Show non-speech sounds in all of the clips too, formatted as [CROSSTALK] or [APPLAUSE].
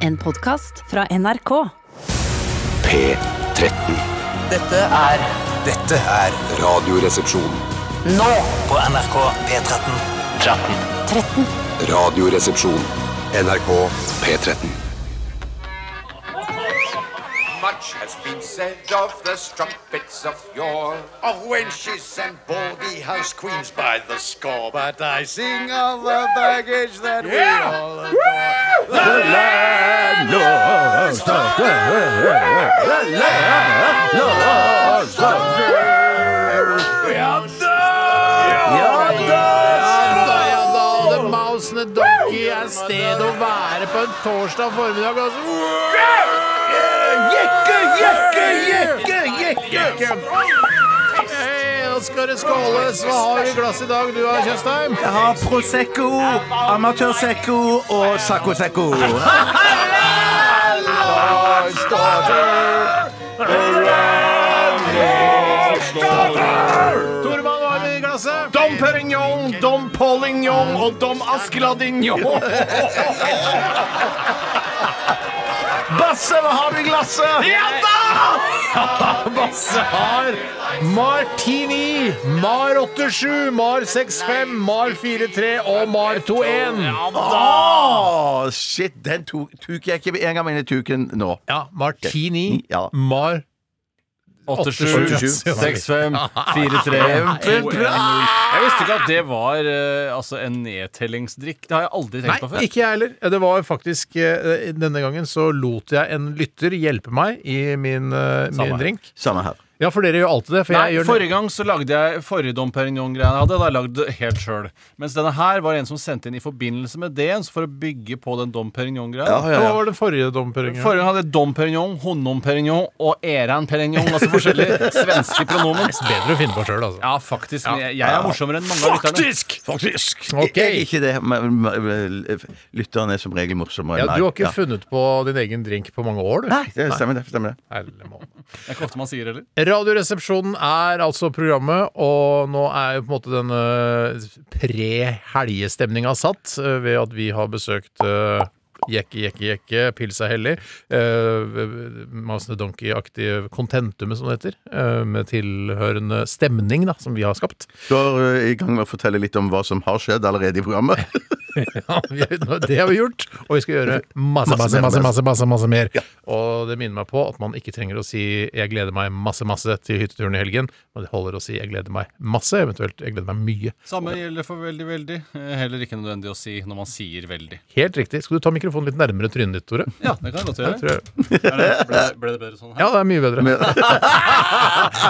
En podkast fra NRK. P13. Dette er Dette er Radioresepsjon. nå på NRK P13. 13. Radioresepsjon. NRK P13. Much has been said of the strumpets of yore. of wenches and baldy house queens by the score. But I sing of the baggage that we all adore. Ja da, det mausende donkey er stedet å være på en torsdag formiddag. Jekke, jekke, jekke, jekke! Hei, nå skal det skåles. Hva har vi i glass i dag, du da, Tjøstheim? Jeg har Prosecco, Amatørsecco og Sacosecco. [LAUGHS] Tormann, hva har vi i glasset? Dom Perignon, Dom Paulignon og Dom [LAUGHS] Askeladinjon. Basse, hva har vi i glasset? Ja [LAUGHS] da! Basse. Mar Martini, Mar 87, Mar 65, Mar 43 og Mar 21. Åh, Ah, shit, den tok, tok jeg ikke en gang med inn i tuken nå. Ja, Martini, Ja. Mar 87, 87. 65, 43 Jeg visste ikke at det var eh, altså, en nedtellingsdrikk. Det har jeg aldri tenkt på Nei, før. ikke jeg heller. Det var faktisk eh, Denne gangen så lot jeg en lytter hjelpe meg i min, eh, min Samme. drink. Samme her. Ja, for dere gjør alltid det. For Nei, jeg gjør forrige gang så lagde jeg forrige Dom Perignon-greia jeg hadde, da lagd helt sjøl. Mens denne her var en som sendte inn i forbindelse med det, så for å bygge på den Dom Perignon-greia. Ja, ja, Hva ja. var det forrige domperingen? Forrige gang hadde jeg Dom Perignon, Honnom Perignon og Eran Perignon. Altså [LAUGHS] forskjellige svenske pronomen. Bedre å finne på sjøl, altså. Ja, faktisk. men Jeg, jeg er morsommere enn mange av lytterne. Faktisk! Jeg er Ok. ikke det. men- men- Lytteren er som regel morsommere Ja, enn meg. du har ikke Ja. funnet på din egen drink på mange år, du? Nei, det stemmer det. stemmer det. Herlig måned. Det er ikke ofte man sier heller. Radioresepsjonen er altså programmet, og nå er jo på en måte denne pre-helgestemninga satt eh, ved at vi har besøkt eh, Jekke, jekke, jekke, pils er hellig. Uh, Masende Donkey-aktige kontentumet, som det heter. eh, med tilhørende stemning, da, som vi har skapt. Du er eh, i gang med å fortelle litt om hva som har skjedd allerede i programmet. Ja, vi, det har vi gjort, og vi skal gjøre masse, masse, masse, masse, masse, masse mer. Og det minner meg på at man ikke trenger å si 'jeg gleder meg masse, masse' til hytteturen i helgen, men det holder å si 'jeg gleder meg masse', eventuelt 'jeg gleder meg mye'. Samme gjelder for veldig, veldig. Eh, Heller ikke nødvendig å si når man sier veldig. Helt riktig. Skal du ta mikrofonen litt nærmere trynet ditt, Tore? Ja, det kan jeg godt gjøre. Jeg tror jeg. Er det- Ble, ble det bedre sånn her? Ja, det er mye bedre.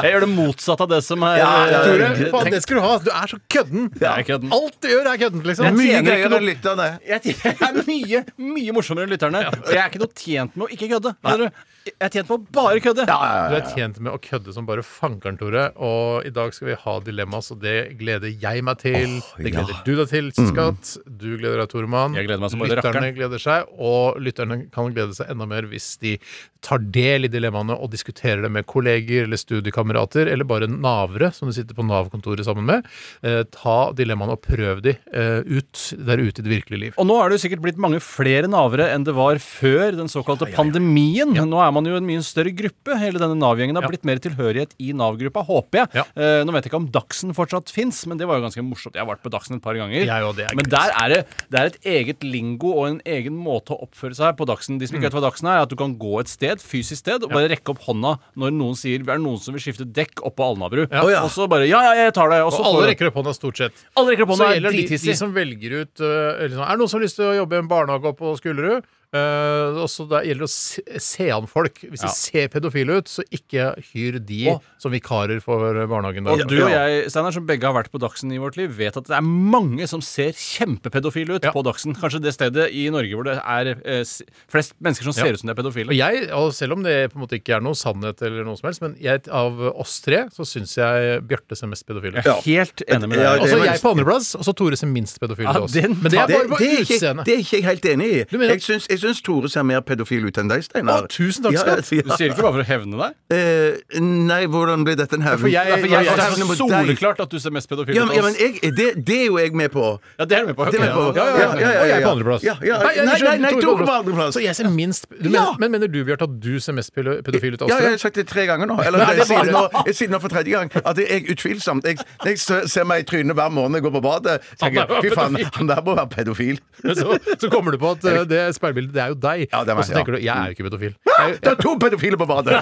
Jeg gjør det motsatte av det som er ja, eh, Tore, tenkt. faen, det skal du ha! Du er så kødden! Jeg er kødden. Alt du gjør, er kødden, liksom. Jeg Mye tjener ikke gøyere noe- enn lytterne. Jeg t- jeg er mye mye morsommere enn lytterne. Og jeg er ikke noe tjent med å ikke kødde. Skjønner du? Jeg er tjent med å bare kødde. Du er tjent med å kødde som bare fankeren, Tore. Og i dag skal vi ha dilemmas, og det gleder jeg meg til. det gleder du deg til, Mm. Skatt. Du gleder deg, Toremann. Jeg gleder meg som bare Lytterne rakkeren. gleder seg, og lytterne kan glede seg enda mer hvis de tar del i dilemmaene og diskuterer det med kolleger eller studiekamerater, eller bare navere som du sitter på Nav-kontoret sammen med. Eh, ta dilemmaene og prøv de eh, ut der ute i det virkelige liv. Og nå er det jo sikkert blitt mange flere navere enn det var før den såkalte pandemien. Nå er man jo en mye større gruppe. Hele denne Nav-gjengen har blitt mer tilhørighet i Nav-gruppa, håper jeg. Ja. Eh, nå vet jeg ikke om Dagsen fortsatt fins, men det var jo ganske morsomt. Jeg har vært på Dagsen et par ganger. Jeg og det er men gøy. der er det, det er et eget lingo og en egen måte å oppføre seg på Dagsen. De som ikke vet Mm. hva Dagsen er, er at du kan gå et sted, fysisk sted, og bare rekke opp hånda når noen sier Er det noen som vil skifte dekk oppe på Alnabru? Å, ja. Og så bare Ja, ja, jeg tar det. Og så Og alle får du- rekker opp hånda stort sett. alle rekker opp Så hånda. Det er gjelder de, de drithissig. som velger ut øh, liksom, Er det noen som har lyst til å jobbe i en barnehage oppe på Skullerud? Uh, også da gjelder det å se, se an folk. Hvis de ser pedofile ut, så ikke hyr de Å. som vikarer for barnehagen. Og der. du og jeg, Steinar, som begge har vært på Dagsen i vårt liv, vet at det er mange som ser kjempepedofile ut Ja. på Dagsen. Kanskje det stedet i Norge hvor det er eh, s- flest mennesker som ser ut som de er Og pedofile. jeg, og selv om det på en måte ikke er noe sannhet, eller noe som helst, men jeg, av oss tre så syns jeg Bjarte ser mest pedofil ut. er Helt enig med Ja, deg. Altså, Og det- [LAUGHS] så jeg på andreplass, og så Tore ser minst pedofil ut. Ja, av oss. den- men det er Det, bare på det, er ikke, utseendet. det er ikke jeg helt enig i. mener- Jeg syns, jeg jeg syns Tore ser mer pedofil ut enn deg, Steinar. Å, tusen takk skal du Du sier det ikke bare for å hevne deg? Eh, nei, hvordan blir dette en hevn? For jeg, Ja, jeg, jeg, hevner synes mot deg. soleklart at du ser mest pedofil ut altså. Ja, men, ja, av men oss. jeg, det, det er jo jeg med på. Ja, det er du med på. Det er med på. Ja, ja, ja, ja. ja, Og jeg er ja. på andreplass. Ja, ja. Nei, jeg- Nei, nei, nei, unnskyld, Tore på andreplass. Så jeg ser minst du Ja! mener, Men mener du, Bjarte, at du ser mest pilo- pedofil ut av oss? Ja, jeg tre? har sagt det tre ganger nå. Eller Nei, det jeg var sier det det. nå, jeg sier det nå for tredje gang. At jeg utvilsomt Jeg, jeg ser meg i trynet hver morgen jeg går på badet. Tenker, Han er Fy faen, pedofil." han der må være pedofil. [LAUGHS] så, så kommer du på at eh, det speilbildet, det er jo deg. Ja, det er meg, og så tenker ja. du jeg er jo ikke pedofil. Jeg, Det er to pedofile på badet!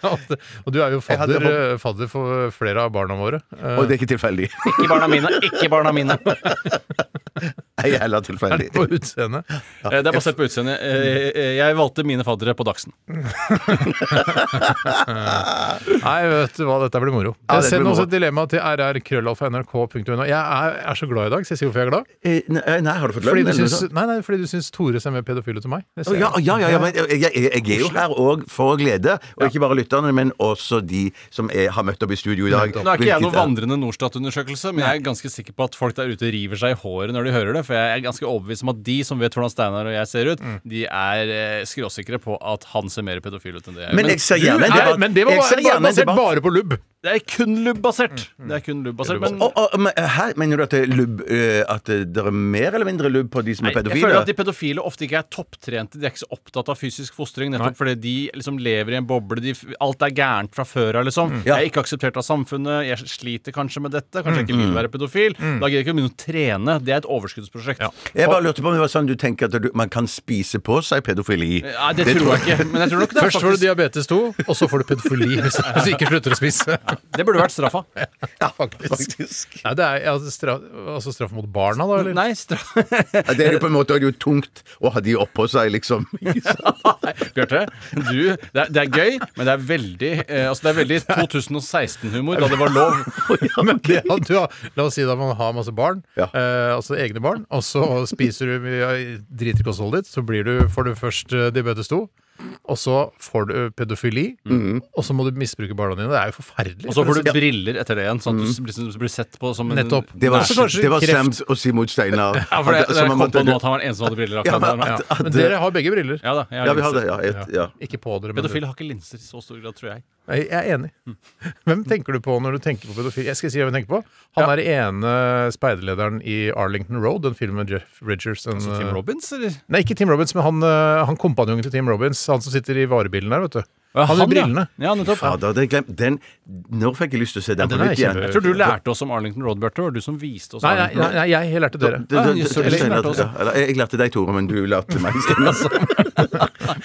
at, [LAUGHS] og du er jo hadde fadder, håpet- eh, fadder for flere av barna våre. [LAUGHS] Eh, Og det er ikke tilfeldig. Ikke barna mine. Ikke barna mine. Ei heller Er tilfeldig. det på utseendet? Eh, Det er basert på utseendet. Eh, eh, Jeg valgte mine faddere på Dagsen. Nei, vet du hva, dette blir moro. Ja, dette Send blir også moro. et dilemma til rrkrøllalfa.nrk.no. Jeg er, er så glad i dag, så jeg sier hvorfor jeg er glad. Eh, Nei, nei, har du fått Fordi du lønn? eller noe syns, sånt? nei, nei, fordi du syns Tore ser mer pedofil ut enn meg. Det Å, ser Ja, jeg. ja, ja, ja, men jeg, jeg, jeg er jo her òg for å glede. Og ikke bare lytterne, men også de som er, har møtt opp i studio i dag. Nå er ikke jeg noen Hvilket er- vandrende Norstat-undersøkelse, men jeg er ganske sikker på at folk der ute river seg i håret når de hører det, for jeg er ganske overbevist om at de som vet hvordan Steinar og jeg ser ut, Mm. de er eh, skråsikre på at han ser mer pedofil ut enn det jeg gjør. Men jeg ser gjerne en Nei, debatt. men det var Jeg ser bare, gjerne en basert debatt. bare på lubb. det er kun lubb-basert. Mm. Det er kun lubb-basert, men Å, å, men, hæ? Mener du at det, er lubb, eh, at det er mer eller mindre lubb på de som er Nei, pedofile? Jeg føler at de pedofile ofte ikke er topptrente. De er ikke så opptatt av fysisk fostring, nettopp fordi de liksom lever i en boble. De, alt er gærent fra før av, liksom. Mm. Ja. Mm, Jeg er ikke akseptert av samfunnet. Jeg sliter kanskje med dette. Kanskje jeg ikke vil være pedofil. Da gidder jeg ikke å begynne å trene. Det er et overskuddsprosjekt. Jeg bare lurte på om det var sånn du tenker at du, man kan spise på seg pedofili. Nei, det, tror jeg ikke. Men jeg tror nok det, er Først får du faktisk, diabetes 2, og så får du pedofili [LAUGHS] hvis hvis du ikke slutter å spise. [LAUGHS] det burde vært straffa. Ja, faktisk. Nei, det er altså straff, altså straff mot barna, da? Eller? Nei, straff Ja, det er jo på en måte det er jo tungt å ha de oppå seg, [LAUGHS] liksom. [LAUGHS] Nei, Bjarte, du, det, er, det er gøy, men det er veldig eh, Altså det er veldig 2016-humor, da det var lov. Men det at du har, la oss si da man har masse barn, Ja. eh, altså egne barn, og så spiser du mye drit i kostholdet ditt, så blir du, får du først eh, diabetes 2. Og så får du pedofili, og så må du misbruke barna dine. Det er jo forferdelig. Mhm. Og så får du briller etter det igjen, sånn at du blir, blir sett på som en Nettopp. Det var, Nei, så kanskje det var kreft. slemt å si mot Steinar. Ja, for det, At- det, som om kom at på du- nå at han var den eneste som hadde briller Ja, akkurat men der. at- at- Men dere har begge briller. Ja da, jeg ja, vi har linser. det. Ja, et, ja. Ikke på dere, men Pedofile har ikke linser i så stor grad, tror jeg. Jeg jeg er enig. Hvem tenker du på når du tenker på pedofil? Jeg skal si hvem jeg tenker på. Han er ene speiderlederen i Arlington Road, den filmen med Jeff Bridgers and, Så Altså Tim Robbins, eller? Nei, ikke Tim Robbins, men han, eh, han kompanjongen til Tim Robbins. Han som sitter i varebilen der, vet du. Han med brillene. Ja, nettopp. Fader, det glemt. Den, nå fikk jeg lyst til å se den den på er nytt igjen. kjempe- Jeg tror du lærte oss om Arlington Road, Bjarte. Var det du som viste oss Nei, nei, Arlington nei, nei, jeg jeg lærte dere. Det- det- Ah, det- jøss, så det- lenge Steinar, lærte også. ja. Eller, jeg lærte deg, Tore, men du lærte meg. Steinar.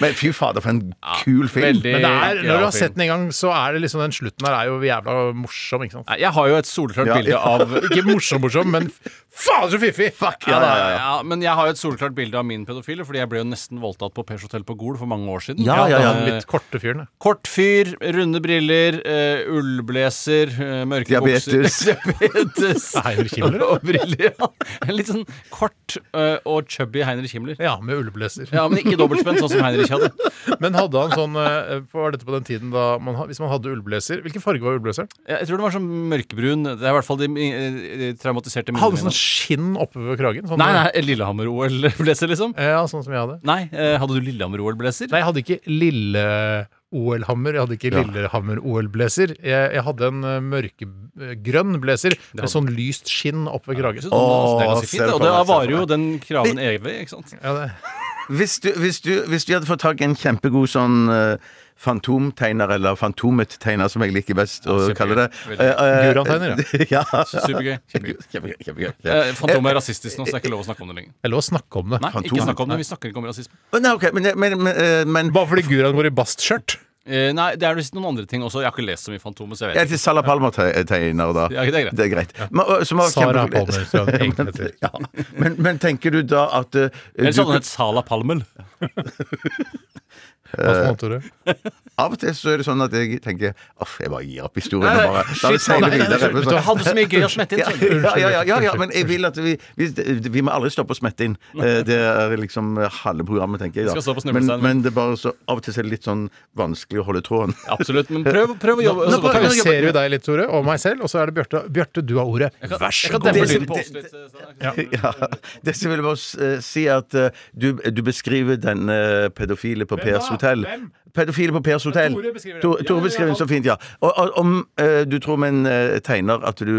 [LAUGHS] men fy fader, for en kul film. Veldig Men det er, gøyal når du har film. sett den en gang, så er det liksom den slutten her er jo jævla morsom, ikke sant? Nei, Jeg har jo et solklart Ja, bilde ja. av Ikke morsom-morsom, [LAUGHS] men faen så fiffig! Fuck, ja, ja, ja, ja. men jeg har jo et solklart bilde av min pedofile, fordi jeg ble jo nesten voldtatt på Pers Hotel på Gol for mange år siden. Eh, Ja, ja, ja. Den litt korte fyren. ja. Kort fyr, runde briller, eh, ullblazer, eh, mørke Diabetes. bukser [LAUGHS] Diabetes. [LAUGHS] Heinrich Himmler. og briller. Ja. En Litt sånn kort eh, og chubby Heinrich Himmler. Ja, med ullblazer. Ja, men ikke dobbeltspent, sånn som Heinrich hadde. Men hadde han sånn eh, Var dette på den tiden da man, ha- Hvis man hadde ullblazer Hvilken farge var ullblazeren? Jeg tror den var sånn mørkebrun. Det er i hvert fall de, eh, de traumatiserte Hadde minnene mine. sånn skinn oppe ved kragen? Sånn, Nei, nei, Lillehammer-OL-blazer, liksom. Ja, sånn som jeg hadde. Nei, eh, hadde du Lillehammer-OL-blazer? Nei, jeg hadde ikke lille OL-hammer. Jeg hadde ikke Lillehammer-OL-blazer. Jeg, jeg hadde en eh, mørkegrønn blazer med sånn lyst skinn oppe ved Det kragen. er ganske ser fint, du og for da meg, ser varer du for jo den kraven evig, ikke sant? Ja, det. Hvis du, hvis, du, hvis du hadde fått tak i en kjempegod sånn eh, fantomtegner, eller fantomet-tegner, som jeg liker best å Ja, kjempegøy. kalle det Veldig. eh, eh, Guran-tegner, [LAUGHS] ja. Supergøy. Kjempegøy. Kjempegøy. kjempegøy. Eh, Fantomet Eh, er rasistisk nå, så det er ikke lov å snakke om det lenger. Det er lov å snakke om det. Nei, ikke snakk om det. Vi snakker ikke om rasisme. å, Nei, ok, men, men, men, eh, men Bare fordi Guran går i bastskjørt. Eh, nei, det er visst noen andre ting også. Jeg har ikke lest så mye Fantomet, så jeg Jeg vet er til Sala Palmer-tegner, da. Ja, det er greit. Det er greit. Men, og- som har Sara kjempe- Palmer, [LAUGHS] som [LAUGHS] hun egentlig heter. ja. men, men tenker du da at eh, Eller du sånn kan- het Sala Palmel. Hva for noe, Tore? Av og til så er det sånn at jeg tenker Uff, jeg bare gir opp historien Nei, og nei, bare la det shit, seile nei, nei, videre. nei, Du hadde så mye gøy å smette inn. Ja, sånn. ja, ja, ja, ja, ja, men jeg vil at vi Vi, vi må aldri stoppe å smette inn. Eh, Det er liksom halve programmet, tenker jeg. Vi skal stå på Da. Men, snublesteinen. men det er bare så av og til så er det litt sånn vanskelig å holde tråden. Absolutt. Men prøv, prøv å jobbe. så Nå godt du kan. paralyserer vi deg litt, Tore, og meg selv, og så er det Bjarte. Bjarte, du har ordet. Vær så Jeg kan god. dempe Det- lyden på oss det- litt. sånn. [LAUGHS] Ja. Det som jeg vil bare s- eh, si, er at eh, du, du beskriver den eh, pedofile på Pers hotell. Hvem? Pedofile på Pers hotell. Tore beskriver det. Tor- Ja, Tore ja, beskriver den ja. så fint, ja. Og, og om eh, du tror med en eh, tegner at du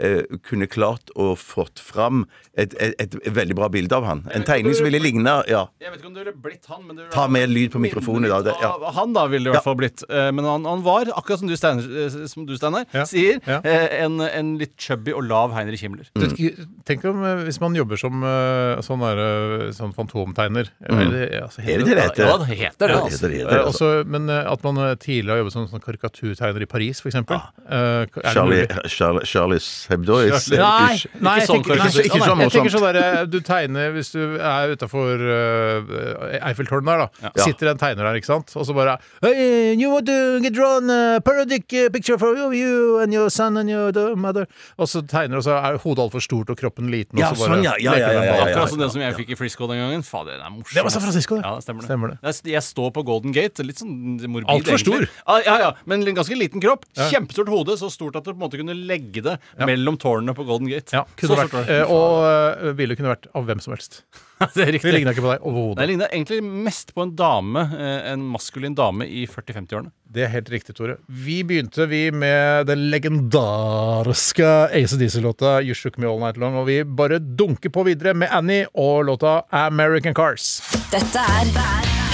eh, kunne klart å fått fram et, et, et veldig bra bilde av han. En tegning som ville ligne Ja. Jeg vet ikke om det ville blitt han, men det ville Ta vært- mer lyd på mikrofonen i dag, det- ja. Av Han da ville det i Ja. hvert fall blitt. Eh, Men han, han var, akkurat som du, Steiner, eh, som du Steinar, Ja. sier, Ja. eh, en, en litt chubby og lav Heinrich Himmler. Det- Tenk om eh, hvis man jobber som eh, sånn, der, eh, sånn fantomtegner. Er det altså, Er det det det heter? Ja, det heter det, Ja, altså. det Eh, heter det. også, men eh, at man eh, tidligere har jobbet som sånn karikaturtegner i Paris, Eh, f.eks. Charlie, Charlie, Charles Hebdo. is- Nei, is- nei, jeg sånn tenker, karikatur. nei, Ikke nei, sånn jeg tenker sånn morsomt. der, eh, Du tegner hvis du er utafor uh, Eiffeltårnet der, da. Ja. Sitter en tegner der, ikke sant, og så bare hey, you want to get drawn a parodic eh, picture for you, you and your son and your da- mother Og så tegner, og så er hodet altfor stort og kroppen liten, og Ja, så bare sånn, ja. Ja, ja, leker den ja, ja, bak. ja. Akkurat som den som jeg fikk i Frisco den gangen. Fader, den er morsom. Det var San ass. Francisco, det. Ja, det stemmer det. Stemmer det. Jeg, st- jeg står på Golden Gate, litt sånn morbid. Alt for egentlig. stor. Ja, ja, ja, men en ganske liten kropp. Kjempestort hode, så stort at du på en måte kunne legge det mellom tårnene på Golden Gate. Ja, så kunne stort vært, var det. eh, [LAUGHS] og eh, bildet kunne vært av hvem som [LAUGHS] helst. det er Det riktig. ligna ikke på deg Det overhodet. ligna egentlig mest på en dame, eh, en maskulin dame i 40-50-årene. Det er helt riktig, Tore. Vi begynte vi med den legendariske Ace Diesel-låta You Shook Me All Night Long, og vi bare dunker på videre med Annie og låta American Cars. Dette er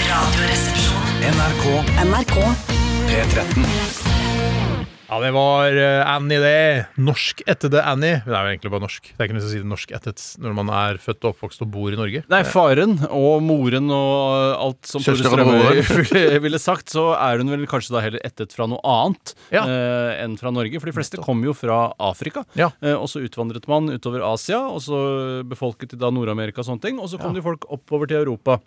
Radioresepsjonen. NRK. NRK. Ja, det var eh, Annie, det. Norsk-ættede Annie. Hun er jo egentlig bare norsk. Det er ikke noe som sier norsk-ættet når man er født og oppvokst og bor i Norge. Nei, faren og moren og eh, alt som Tore Søster og Strømøy broren. [LAUGHS] ville- ville sagt, så er hun vel kanskje da heller ettet fra noe annet Ja. eh, enn fra Norge. For de fleste kom jo fra Afrika, Ja. eh, og så utvandret man utover Asia, og så befolket de da Nord-Amerika og sånne ting, og så kom det folk oppover til Europa.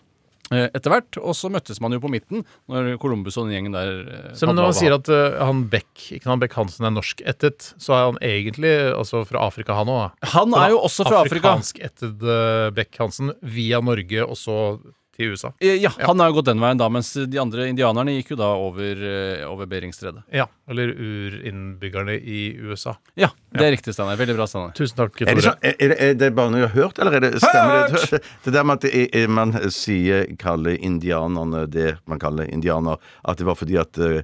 eh, Etter hvert, Og så møttes man jo på midten, når Columbus og den gjengen der eh, Så, men hadde når man hva- sier at eh, han Beck ikke han Beck Hansen er norsk-ættet, så er han egentlig altså, fra Afrika, han òg. Han er jo også fra Afrika. Afrikansk-ætted Beck Hansen via Norge og så til USA. Eh, Ja, han har jo gått den veien da, mens de andre indianerne gikk jo da over, eh, over Beringstredet. Ja, Eller urinnbyggerne i USA. Ja, det er riktig, Steinar. Veldig bra, Steinar. Tusen takk, Er det, Tore. sånn, er, er det, er det bare noe jeg har hørt, eller er det stemmer det? [LAUGHS] Det der med at det er, man sier, kaller indianerne det man kaller indianer, at det var fordi at eh,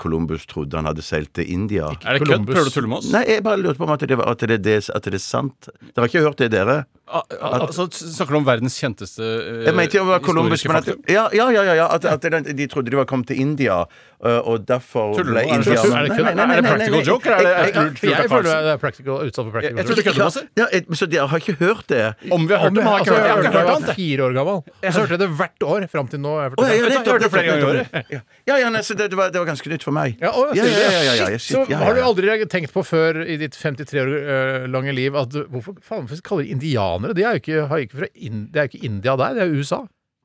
Columbus trodde han hadde seilt til India. Er det kødd? Columbus. Prøver du å tulle med oss? Nei, jeg bare lurte på om at det, var- at det, er det, at det er sant. Dere har ikke hørt det, dere? Ah, ah, altså, s- snakker du om verdens kjenteste eh, Jeg mente jo om det var Columbus, historiske men at, faktum? ja, ja, ja, ja, ja, at, at den- de trodde de var kommet til India, eh, og derfor Tuller du ble nå? Er det- indianerne er Er det det kødd? practical joke, eller er det- Jeg- jeg- er det- Jeg føler det er practical, utsatt for practical. jeg tror du kødder med oss, ikke- ja, jeg- Så dere har ikke hørt det? Om vi har hørt det, men har Altså, ikke hørt det. jeg Jeg har hørte ikke det da hørt jeg var fire år gammel. Og så hørte jeg det hvert år fram til nå. har Jeg Å, ja, hørt ja, det. hørte nettopp, nettopp, flere ganger i nettopp, nettopp. Ja, ja, nei, så det, det, var, det var ganske nytt for meg. Ja, å, ja, sier du det? ja, ja, ja, ja, Shit, shit, ja, Så ja, har du ja. aldri tenkt på før i ditt 53 år eh, lange liv at du- hvorfor faen kaller de indianere? De er jo ikke, har jo ikke, fra in, det er jo ikke India der, det er jo USA.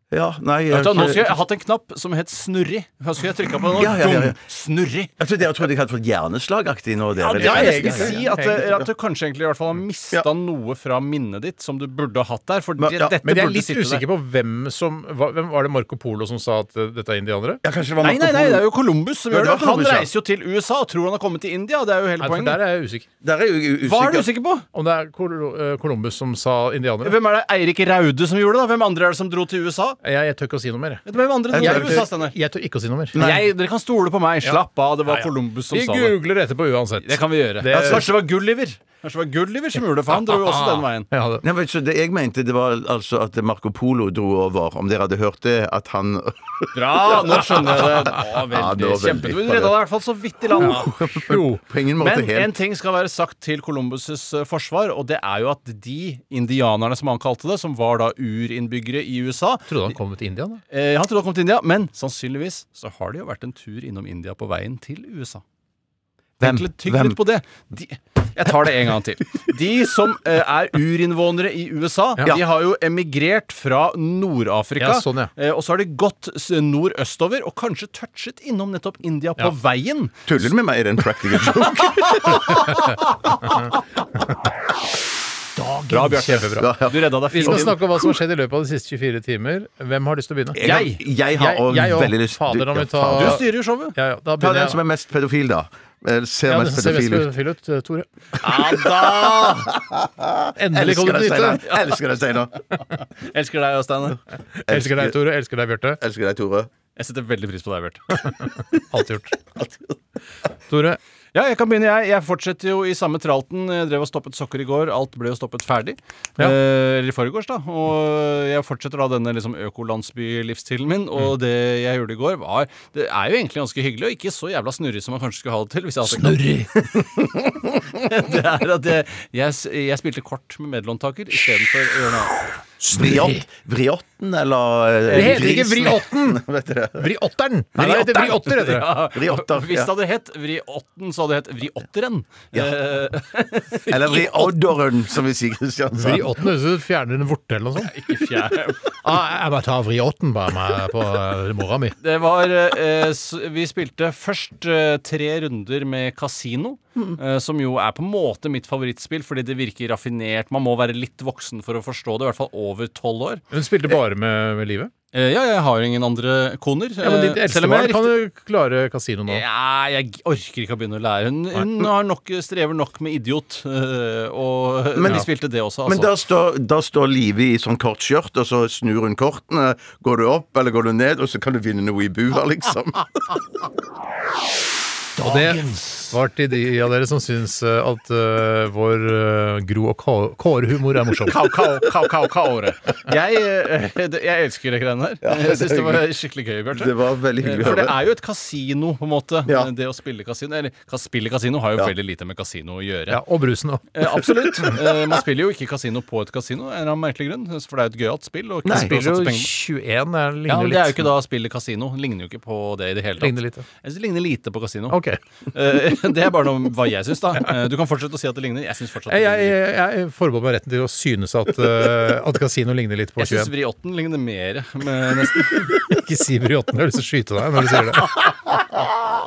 Ja, nei jeg, Vet du hva, Nå skulle jeg hatt en knapp som het Snurri. Hva skulle jeg trykka på nå? Ja, ja, ja, ja. Dum! Snurri. jeg tror Dere trodde jeg hadde fått hjerneslagaktig nå. Dere. Ja, det kan er jeg egentlig- nesten si at, eh, at du kanskje egentlig i hvert fall har mista Ja. noe fra minnet ditt som du burde ha hatt der. For Men- det- ja, dette Men jeg er burde litt sitte der. usikker på hvem som hva- hvem Var det Marco Polo som sa at eh, dette er indianere? Ja, kanskje det var Nei, nei, nei, det er jo Columbus som Ja, gjør det det. var Han Columbus, ja. reiser jo til USA og tror han har kommet til India. Det er jo hele Nei, for poenget. der er jeg usikker. Der er jo usikker. Hva er du usikker på? Om det er Col- eh, Columbus som sa indianere? Hvem er det Eirik Raude som gjorde det? da? Hvem andre er det som dro til USA? Jeg, jeg tør ikke å si noe mer. jeg. Hvem andre dro Jeg, til USA, tør, Steinar? jeg tør ikke å si noe mer. Jeg- Dere kan stole på meg. Slapp av, det var Columbus som Vi sa det. googler etterpå uansett. Det kan vi gjøre. Det- Ja, Kanskje det var Gulliver Ah, Kanskje det var Gulliver som gjorde det, for han dro jo også den veien. Ah, Ja, det. Nei, men, så det jeg mente, det var altså at Marco Polo dro over. Om dere hadde hørt det, at han [LAUGHS] Bra, nå skjønner jeg det. Å, Ja, veldig det var veldig kjempe- Du redda deg i hvert fall så vidt i land. [LAUGHS] Jo. på ingen måte Men en helt ting skal være sagt til Columbus' eh, forsvar, og det er jo at de indianerne, som han kalte det, som var da urinnbyggere i USA Trodde han kom til India, da. eh, Han trodde han kom til India, men sannsynligvis så har de jo vært en tur innom India på veien til USA. Tenk litt, tygg litt på det. De, Jeg tar det en gang til. De som eh, er urinnvånere i USA, Ja. de har jo emigrert fra Nord-Afrika. Ja, sånn, ja. eh, Og så har de gått s- nordøstover, og kanskje touchet innom nettopp India på veien. Tuller du med meg? Er det en practical joke? Bra, Bjarte. Kjempebra. Du redda deg Vi skal fint. snakke om hva som har skjedd i løpet av de siste 24 timer. Hvem har lyst til å begynne? Jeg, jeg har også jeg også. veldig lyst Fader, da må vi Ja, ta- fader. Du styrer jo showet. Ja, ja, da Ta den begynner som jeg. er mest pedofil, da. Eller ser Ja, den mest ser mest [LAUGHS] pedofil ut. pedofil ut, eh, Tore. Ja da! Endelig kom Elsker du deg, Steinar. dit! Elsker deg, Steinar. Elsker deg, Steiner. Elsker deg, Tore. Elsker deg, Bjarte. Elsker deg, Tore. Jeg setter veldig pris på deg, Bjarte. Alt gjort. Tore, Ja, jeg kan begynne. Jeg, jeg fortsetter jo i samme tralten. Jeg drev og stoppet sokker i går. Alt ble jo stoppet ferdig. Ja. Eh, Eller i forgårs, da. Og jeg fortsetter da denne liksom økolandsbylivsstilen min. Mm. Og det jeg gjorde i går, var Det er jo egentlig ganske hyggelig, og ikke så jævla snurrig som man kanskje skulle ha det til. Hvis jeg hadde [LAUGHS] det er at jeg, jeg, s- jeg spilte kort med medlåntaker istedenfor å gjøre noe annet. Vriott, vriotten, eller eh, Det heter ikke Vri åtten! Vet dere. Vri åtteren! Nei, det heter Vri åtter, heter det. Ja. Vri åtter, Hvis ja. det hadde hett Vri åtten, så hadde det hett Vri åtteren. Eh, Eller vriodderen, som vi sier i Vri Kristiansand. åtten høres ut som du fjerner en vorte eller noe sånt. ikke fjær. Ah, jeg bare tar Vri åtten bare med på eh, mora mi. Det var eh, s- Vi spilte først eh, tre runder med kasino, eh, som jo er på en måte mitt favorittspill, fordi det virker raffinert. Man må være litt voksen for å forstå det, i hvert fall over tolv år. Hun spilte bare med, med livet. Eh, ja, jeg har jo ingen andre koner. Ja, men ditt eh, selv om eldste jeg barn er kan riktig- jo klare kasino nå. Ja, jeg g- orker ikke å begynne å lære. Hun, hun har nok, strever nok med idiot, eh, og Men- vi spilte det også, Men altså. da står, da står Live i sånn kort skjørt, og så snur hun kortene. Går du opp, eller går du ned, og så kan du vinne noe i bua, liksom. Og det var til de av dere som syns eh, at eh, vår eh, Gro og Kå- Kåre-humor er morsom. Kau, kau, kau, kau, kaore. Jeg, eh, [LAUGHS] det- jeg elsker de greiene der. det er jeg syns det var hyggelig. skikkelig gøy, Bjarte. Det var veldig Eh, hyggelig å For det høre. er jo et kasino, på en måte. Ja. Det å spille kasino Eller ka- spille kasino har jo veldig lite med kasino å gjøre. Ja, og brusen òg. Eh, absolutt. Eh, man spiller jo ikke kasino på et kasino, av en eller annen merkelig grunn. For det er jo et gøyalt spill. Og Nei, kasino spiller satser jo penger på- 21, det er- ligner ja, jo men litt. Det er jo ikke da spillet kasino. Ligner jo ikke på det i det hele tatt. Ligner litt, ja. Jeg synes det ligner lite på kasino. Ok. Eh, det er bare noe hva jeg syns, da. Eh, du kan fortsette å si at det ligner. Jeg syns fortsatt det Jeg, jeg, ligner. litt. jeg jeg forbeholder meg retten til å synes at, eh, at kasino ligner litt på Jeg syns 21. vriotten ligner mer, men nesten Ikke si Briotten, jeg har lyst til å skyte deg når du sier det.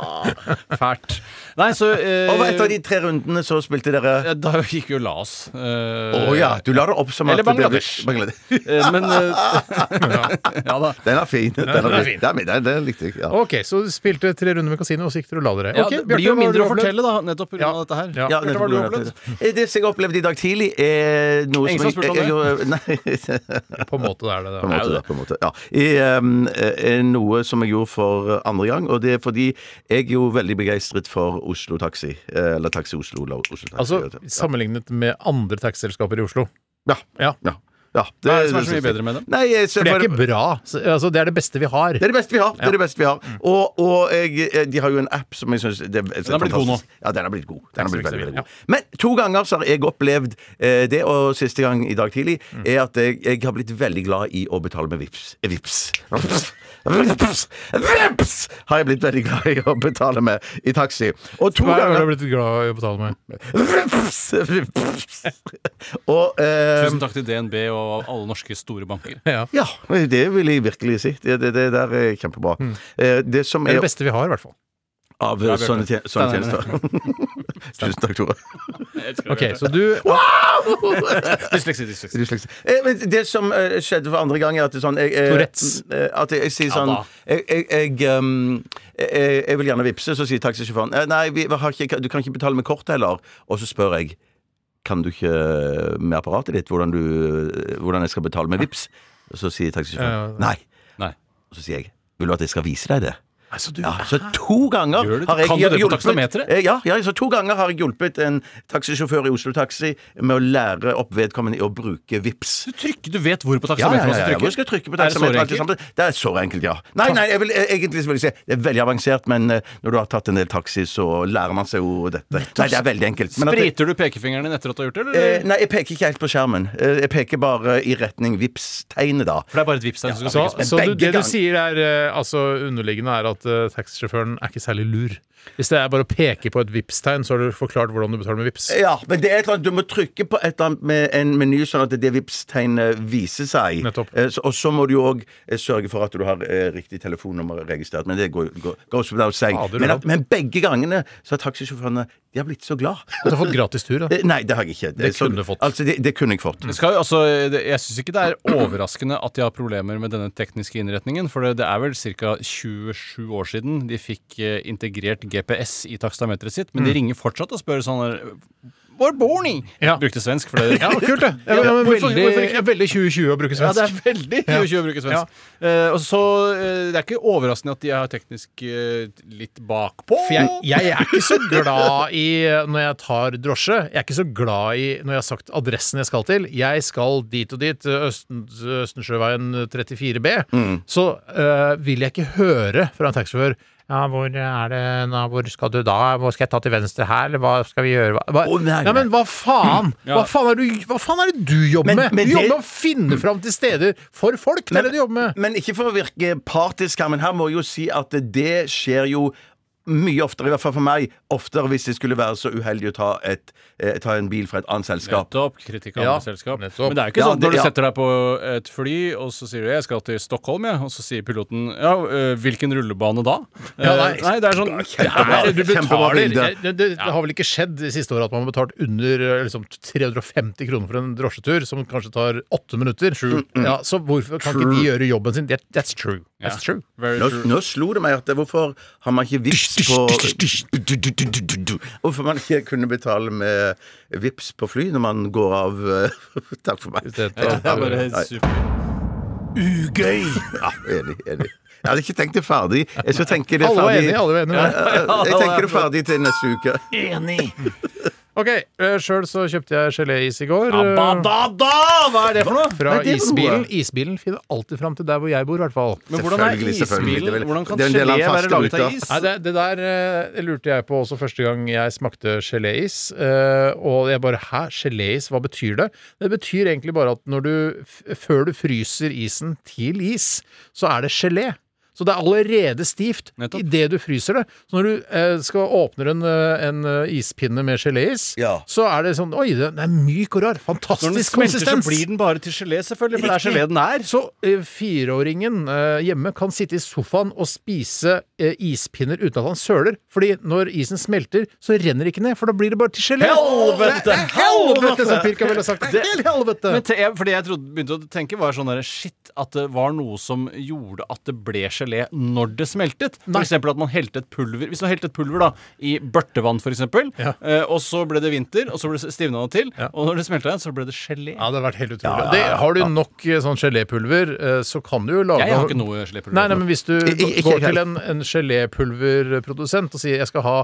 fælt. Nei, så eh, Og etter de tre rundene så spilte dere Å eh, Da gikk vi og la oss. Eh, ja, du la det opp som at Eller det ble- Bangladesh. Bangladesh. [LAUGHS] eh, Men eh, [LAUGHS] ja da. Den er fin. Den, er er fin. Den, er- den, den likte jeg. Ja. Ok, Så du spilte tre runder med kasino, og så gikk dere og la dere. Ja, Ok, det Bjarte, blir jo hva har du mindre å opplevd? fortelle da, nettopp pga. Ja. dette her. Ja. Ja, Bjarte, hva nettopp har du grunnet opplevd? det. Det som jeg opplevde i dag tidlig, er noe Ingen som jeg, spurte om jeg, jeg, Nei. [LAUGHS] På en måte det er det. På en det. måte, da, på en måte. Ja. I, ehm, eh, noe som jeg gjorde for eh, andre gang, og det er fordi jeg er jo veldig begeistret for Oslo Taxi. eh, Eller Taxi Oslo. eller Oslo taxi Altså, ja. Sammenlignet med andre taxiselskaper i Oslo. Ja. Ja. ja. ja. Hva er det som er så mye bedre med dem? Nei, jeg, ser For det er bare- ikke bra. Så- Altså, det er det beste vi har. det er det beste vi har. Det er det beste vi har. Mm. Og, og jeg, eh, de har jo en app som jeg syns Den Den er blitt god nå. Ja, den er blitt god. Den er Taxi blitt veldig, Taxi, veldig god. Men to ganger så har jeg opplevd eh, det, og siste gang i dag tidlig, Mm. er at jeg, jeg har blitt veldig glad i å betale med VIPS. Eh, Vips. Vips. Vips. Vips har jeg blitt veldig glad i å betale med i taxi. Og to Hva er det du har ganger blitt glad i å betale med? Vips. Vips. Og eh, Tusen takk til DNB og alle norske store banker. Ja. ja, det vil jeg virkelig si. Det, det, det der er kjempebra. Eh, Det som Det Mm. er er det beste vi har, i hvert fall. Av eh, sånne, tje- sånne tjenester. [LAUGHS] Tusen takk, Tore. Ok, Så du Dysleksi, dysleksi. Dysleksi. Eh, men Det som eh, skjedde for andre gang, er at det sånn jeg, eh, Tourettes. eh, At jeg, jeg sier sånn da. jeg, jeg, jeg, um, jeg, jeg vil gjerne vippse, så sier taxisjåføren eh, Nei, vi har ikke, du kan ikke betale med kort heller. Og så spør jeg Kan du ikke med apparatet ditt hvordan, du, hvordan jeg skal betale med vips? Og så sier taxisjåføren nei. Nei. Og så sier jeg Vil du at jeg skal vise deg det? Altså, du Ja, så to ganger Gjør du det? har jeg Kan du det på hjulpet- taksameteret? Eh, Ja, ja, så to ganger har jeg hjulpet en taxisjåfør i Oslo Taxi med å lære opp vedkommende i å bruke VIPS. Du trykker, du vet hvor på Ja, ja, ja, taksameteret ja, man Hvor skal skal jeg trykke på Er det så taksameteret? alt enkelt? sammen? Det er så enkelt, ja. Nei, nei, jeg vil, eh, egentlig så vil jeg si det er veldig avansert, men eh, når du har tatt en del taxi, så lærer man seg jo dette. Nei, det er veldig enkelt. Men at jeg- Spriter du pekefingeren din etter at du har gjort det, eh, eller? Nei, jeg peker ikke helt på skjermen. Eh, Jeg peker bare i retning VIPS-tegnet, da. For det er bare et vipstegn som skal trykkes Så, på. så du, begge det du gang- sier er eh, altså underliggende er at uh, eh, taxisjåføren er ikke særlig lur. Hvis det er bare å peke på et Vipps-tegn, så har du forklart hvordan du betaler med Vipps. [LAUGHS] Ja, men det er et eller annet, du må trykke på et eller annet med en meny, sånn at det Vipps-tegnet viser seg. Nettopp. Eh, så- Og så må du jo òg sørge for at du har eh, riktig telefonnummer registrert. Men det går, går, goes without saying. Fader, men, at, Rob. men begge gangene så har taxisjåførene De har blitt så glad. Du har fått gratis tur, da. Eh, Nei, det har jeg ikke. Det så- kunne du fått. Altså, det, det kunne jeg fått. Det skal, jo- altså, det, jeg syns ikke det er overraskende at de har problemer med denne tekniske innretningen. For det, det er vel ca. 27 år siden de fikk eh, integrert GPS i takstameteret sitt. Mm. Men de ringer fortsatt og spør sånn der Hvor bor ni? Ja. Brukte svensk. For det, Ja, kult, det! Ja, men Hvorfor- veldig, hvorfor ikke? ja, veldig 2020 å [LAUGHS] bruke Ja, det svensk. er veldig Ja. 2020 å bruke svensk. Eh, og så eh, Det er ikke overraskende at de er teknisk eh, litt bakpå. For jeg, jeg er ikke så glad i eh, når jeg tar drosje. Jeg er ikke så glad i når jeg har sagt adressen jeg skal til. Jeg skal dit og dit, eh, Østen, Østensjøveien 34B. Mm. Så eh, vil jeg ikke høre fra en taxisjåfør ja, hvor er det nå, Hvor skal du da? Hvor skal jeg ta til venstre her, eller hva skal vi gjøre? Hva, hva, Å, nei, ja, men hva [CLEARS THROAT] faen? Hva Ja. faen er, du, hva faen er det du jobber Men- med? men du jobber det- med å finne fram til steder for folk! Det er det du jobber med. Men ikke for å virke partisk her, men her må jeg jo si at det skjer jo mye oftere, i hvert fall for meg, oftere hvis jeg skulle være så uheldig å ta, et, eh, ta en bil fra et annet selskap. Nettopp. Kritikk av Ja, andre selskap. nettopp. Men det er jo ikke Ja, sånn at når du det- ja. setter deg på et fly, og så sier du 'jeg skal til Stockholm', jeg, og så sier piloten 'ja, øh, hvilken rullebane da?' Ja, nei. Eh, nei, det er [LAUGHS] sånn Kjempebra. Nei, du Kjempebra betaler bilde. det, det, det har vel ikke skjedd de siste årene at man har betalt under eh, liksom, 350 kroner for en drosjetur, som kanskje tar åtte minutter. Ja, så hvorfor kan ikke de gjøre jobben sin? That, that's true. That's true. Very Nå, true. nå slo det meg at hvorfor har man ikke vips på Hvorfor man ikke kunne betale med vips på fly når man går av eh, [LAUGHS] Takk for meg. Det- det- Ja, Det er bare nei, super. Ugøy! ja, enig, enig. Jeg hadde ikke tenkt det ferdig. Jeg skal tenke det Alle var ferdig. enige. [LAUGHS] alle var enige. Jeg tenker det ferdig til neste uke. Enig. Ok, eh, Sjøl så kjøpte jeg geléis i går. eh, Abadada! Hva er det for noe? Fra Nei, det er for noe. isbilen. Isbilen finner alltid fram til der hvor jeg bor, i hvert fall. Men hvordan er Selvfølgelig, selvfølgelig. Det er vel- isbilen? Hvordan kan det er en gelé del av den være faste laget av ruta. is? Nei, det, det der eh, det lurte jeg på også første gang jeg smakte geléis. eh, og jeg bare Hæ, geléis? Hva betyr det? Det betyr egentlig bare at når du, f før du fryser isen til is, så er det gelé. Så det er allerede stivt Nettopp. idet du fryser det. Så når du eh, skal åpner en, eh, en eh, ispinne med geléis, Ja. så er det sånn Oi, den er myk og rar. Når den Fantastisk smelter, så konsistens! blir den bare til gelé, selvfølgelig. For det er gelé den er. Så eh, fireåringen eh, hjemme kan sitte i sofaen og spise eh, ispinner uten at han søler. Fordi når isen smelter, så renner det ikke ned, for da blir det bare til gelé. Helvete! Det er helvete, som Pirka ville sagt. Det er helt helvete. Men te, jeg, fordi jeg trodde, begynte å tenke var sånn der, Shit, at det var noe som gjorde at det ble gelé når det smeltet. For eksempel at man helte et pulver Hvis man helte et pulver da i børtevann, for eksempel, Ja. eh, og så ble det vinter, og så ble det stivna det til, og når det smelta igjen, så ble det gelé. Ja, det har vært helt utrolig. Det, har du nok eh, sånn gelépulver, eh, så kan du jo lage Jeg har ikke noe gelépulver. Nei, nei, men hvis du ikke går helt. til en, en gelépulverprodusent og sier jeg skal ha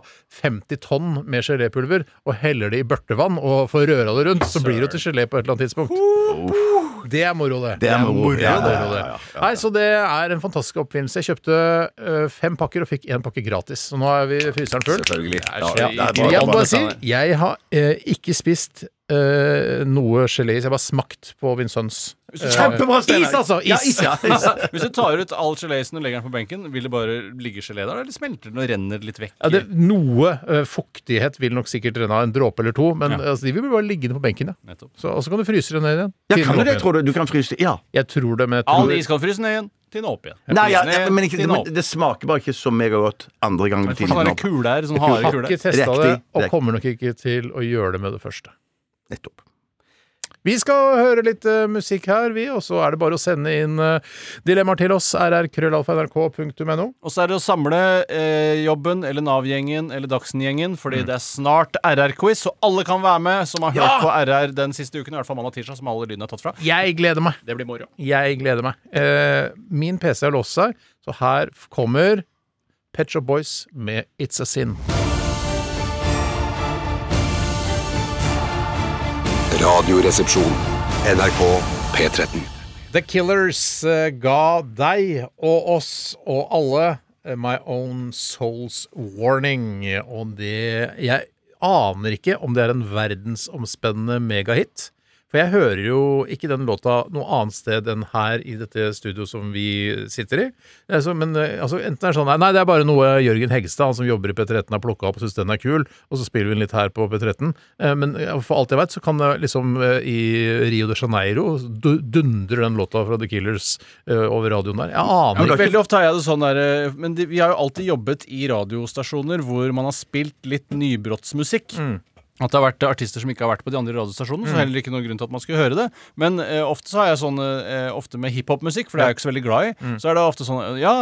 50 tonn med gelépulver, og heller det i børtevann og får røra det rundt, så blir det jo til gelé på et eller annet tidspunkt. Det er moro, det. Det er moro. Ja, det er ja, moro, det. ja, ja, Nei, så det er en fantastisk oppfinnelse. Jeg kjøpte ø, fem pakker og fikk én pakke gratis. Så nå er vi fryseren full. Selvfølgelig. Ja, så ja, det er bra. Jeg må bra. bare si, jeg har eh, ikke spist eh, noe gelé. Jeg har bare smakt på min sønns. [LAUGHS] Kjempebra, Steinar. Is, altså! Is! Ja, is, ja, is. Hvis du tar ut all geléisen og legger den på benken, vil det bare ligge gelé der, eller smelter den og renner litt vekk? Ja, det, noe eh, fuktighet vil nok sikkert renne av en dråpe eller to, men altså, de vil bare ligge inne på benken. Ja. Nettopp. Så, og så kan du fryse det ned igjen. Ja, Til kan du den det, åpner. tror du? Du kan fryse Ja. Jeg tror det, men jeg All tror is kan fryse ned igjen. Til den opp igjen. Nei, ja, Fryse ned ja, men ikke, til den opp. men det smaker bare ikke så megagodt andre gangen. Det er Sånne opp. kuler, her, sånne harde har kuler. ikke testa det, Riktig. og Riktig. kommer nok ikke til å gjøre det med det første. Nettopp. Vi skal høre litt eh, musikk her, vi, og så er det bare å sende inn eh, dilemmaer til oss. rrkrøllalfa.nrk.no. Og så er det å samle eh, jobben eller Nav-gjengen eller Dagsen-gjengen, fordi Mm. det er snart RR-quiz, og alle kan være med som har hørt på RR den siste uken, i hvert fall mandag og tirsdag, som alle lydene er tatt fra. Jeg gleder meg! Det blir moro. Jeg gleder meg. Eh, min PC har låst seg, så her f- kommer Pet Shop Boys med It's a Sin. Radioresepsjon. NRK P13. The Killers eh, ga deg og oss og alle eh, My Own Souls Warning. Og det Jeg aner ikke om det er en verdensomspennende megahit. For jeg hører jo ikke den låta noe annet sted enn her i dette studio som vi sitter i. Altså, men eh, altså, enten er det sånn Nei, det er bare noe Jørgen Hegstad, han som jobber i P13, har plukka opp og syns den er kul, og så spiller vi den litt her på P13. Eh, Men eh, for alt jeg veit, så kan det liksom eh, i Rio de Janeiro du- dundre den låta fra The Killers eh, over radioen der. Jeg Ja, aner men ikke. veldig ofte har jeg det sånn der, eh, Men de, vi har jo alltid jobbet i radiostasjoner hvor man har spilt litt nybrottsmusikk. Mm. At det har vært artister som ikke har vært på de andre radiostasjonene. Så heller ikke noen grunn til at man skulle høre det Men eh, ofte så har jeg sånn eh, Ofte med hiphopmusikk, for det er jeg jo ikke så veldig glad i. Mm. Så er det ofte sånn eh, Ja,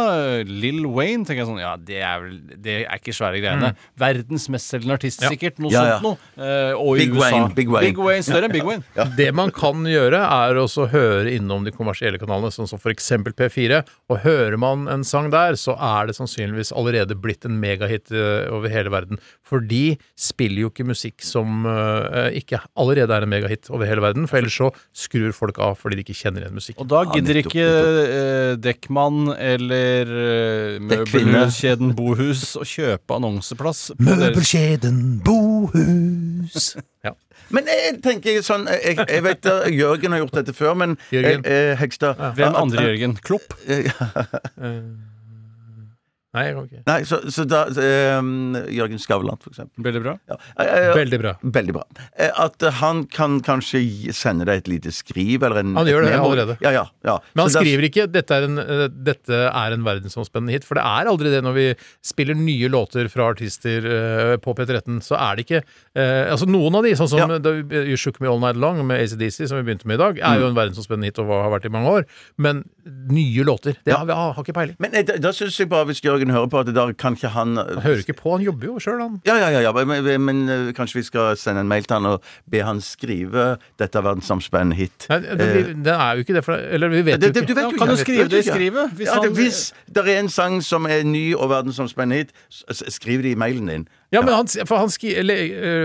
Lill Wayne tenker jeg sånn Ja, det er vel Det er ikke svære greiene. Verdens mestselgende artist, sikkert. Noe Mm. Ja, ja. sånt noe. Eh, og i Big USA. Wayne, Big Wayne. Større enn Big Wayne. Det man kan gjøre, er også å høre innom de kommersielle kanalene, sånn som f.eks. P4. Og hører man en sang der, så er det sannsynligvis allerede blitt en megahit eh, over hele verden. For de spiller jo ikke musikk som eh, ikke allerede er en megahit over hele verden, for ellers så skrur folk av fordi de ikke kjenner igjen musikken. Og da gidder nettopp, ikke eh, Dekkmann eller eh, Dekkvinne. møbelkjeden Bohus å kjøpe annonseplass. på deres- Møbelkjeden Bohus. Ja. Men jeg jeg tenker sånn Jeg, jeg- jeg vet at Jørgen har gjort dette før, men Jørgen? eh, eh, Hegstad eh, Hvem andre, Jørgen? Klopp? Nei, jeg kan ikke. Nei, så, så da eh, Jørgen Skavlan, for eksempel. Veldig bra. Ja. Eh, eh, Veldig bra. Veldig bra. Eh, At eh, han kan kanskje gi- sende deg et lite skriv eller en Han gjør et det memo. allerede. Ja, ja, ja. Men han Så da- skriver ikke dette er, en, eh, 'dette er en verdensomspennende hit', for det er aldri det når vi spiller nye låter fra artister eh, på P13. Så er det ikke eh, Altså Noen av de, sånn som Ja. eh, da vi, eh, You Shook Me All Night Long med ACDC, som vi begynte med i dag, Mm. er jo en verdensomspennende hit og har vært i mange år. Men nye låter, det har vi har, har ikke peiling. Men eh, da, da syns jeg bare, hvis Jørgen hører på, at da kan ikke han Han hører ikke på, han jobber jo sjøl, han. Ja, ja, ja, ja. Men, men, men eh, kanskje vi skal sende en mail til han og be han skrive 'Dette er verdensomspennende hit'. Nei, det, blir, det er jo ikke det, for Eller vi vet Eh. Det- jo det- ikke. vet Ja, kan du jeg vet skrive det i ikke. skrivet? Hvis Hvis, ja, det, han- hvis det er en sang som er ny og verdensomspennende hit, s- s- skriv det i mailen din. Ja, men han, for han skri, eller,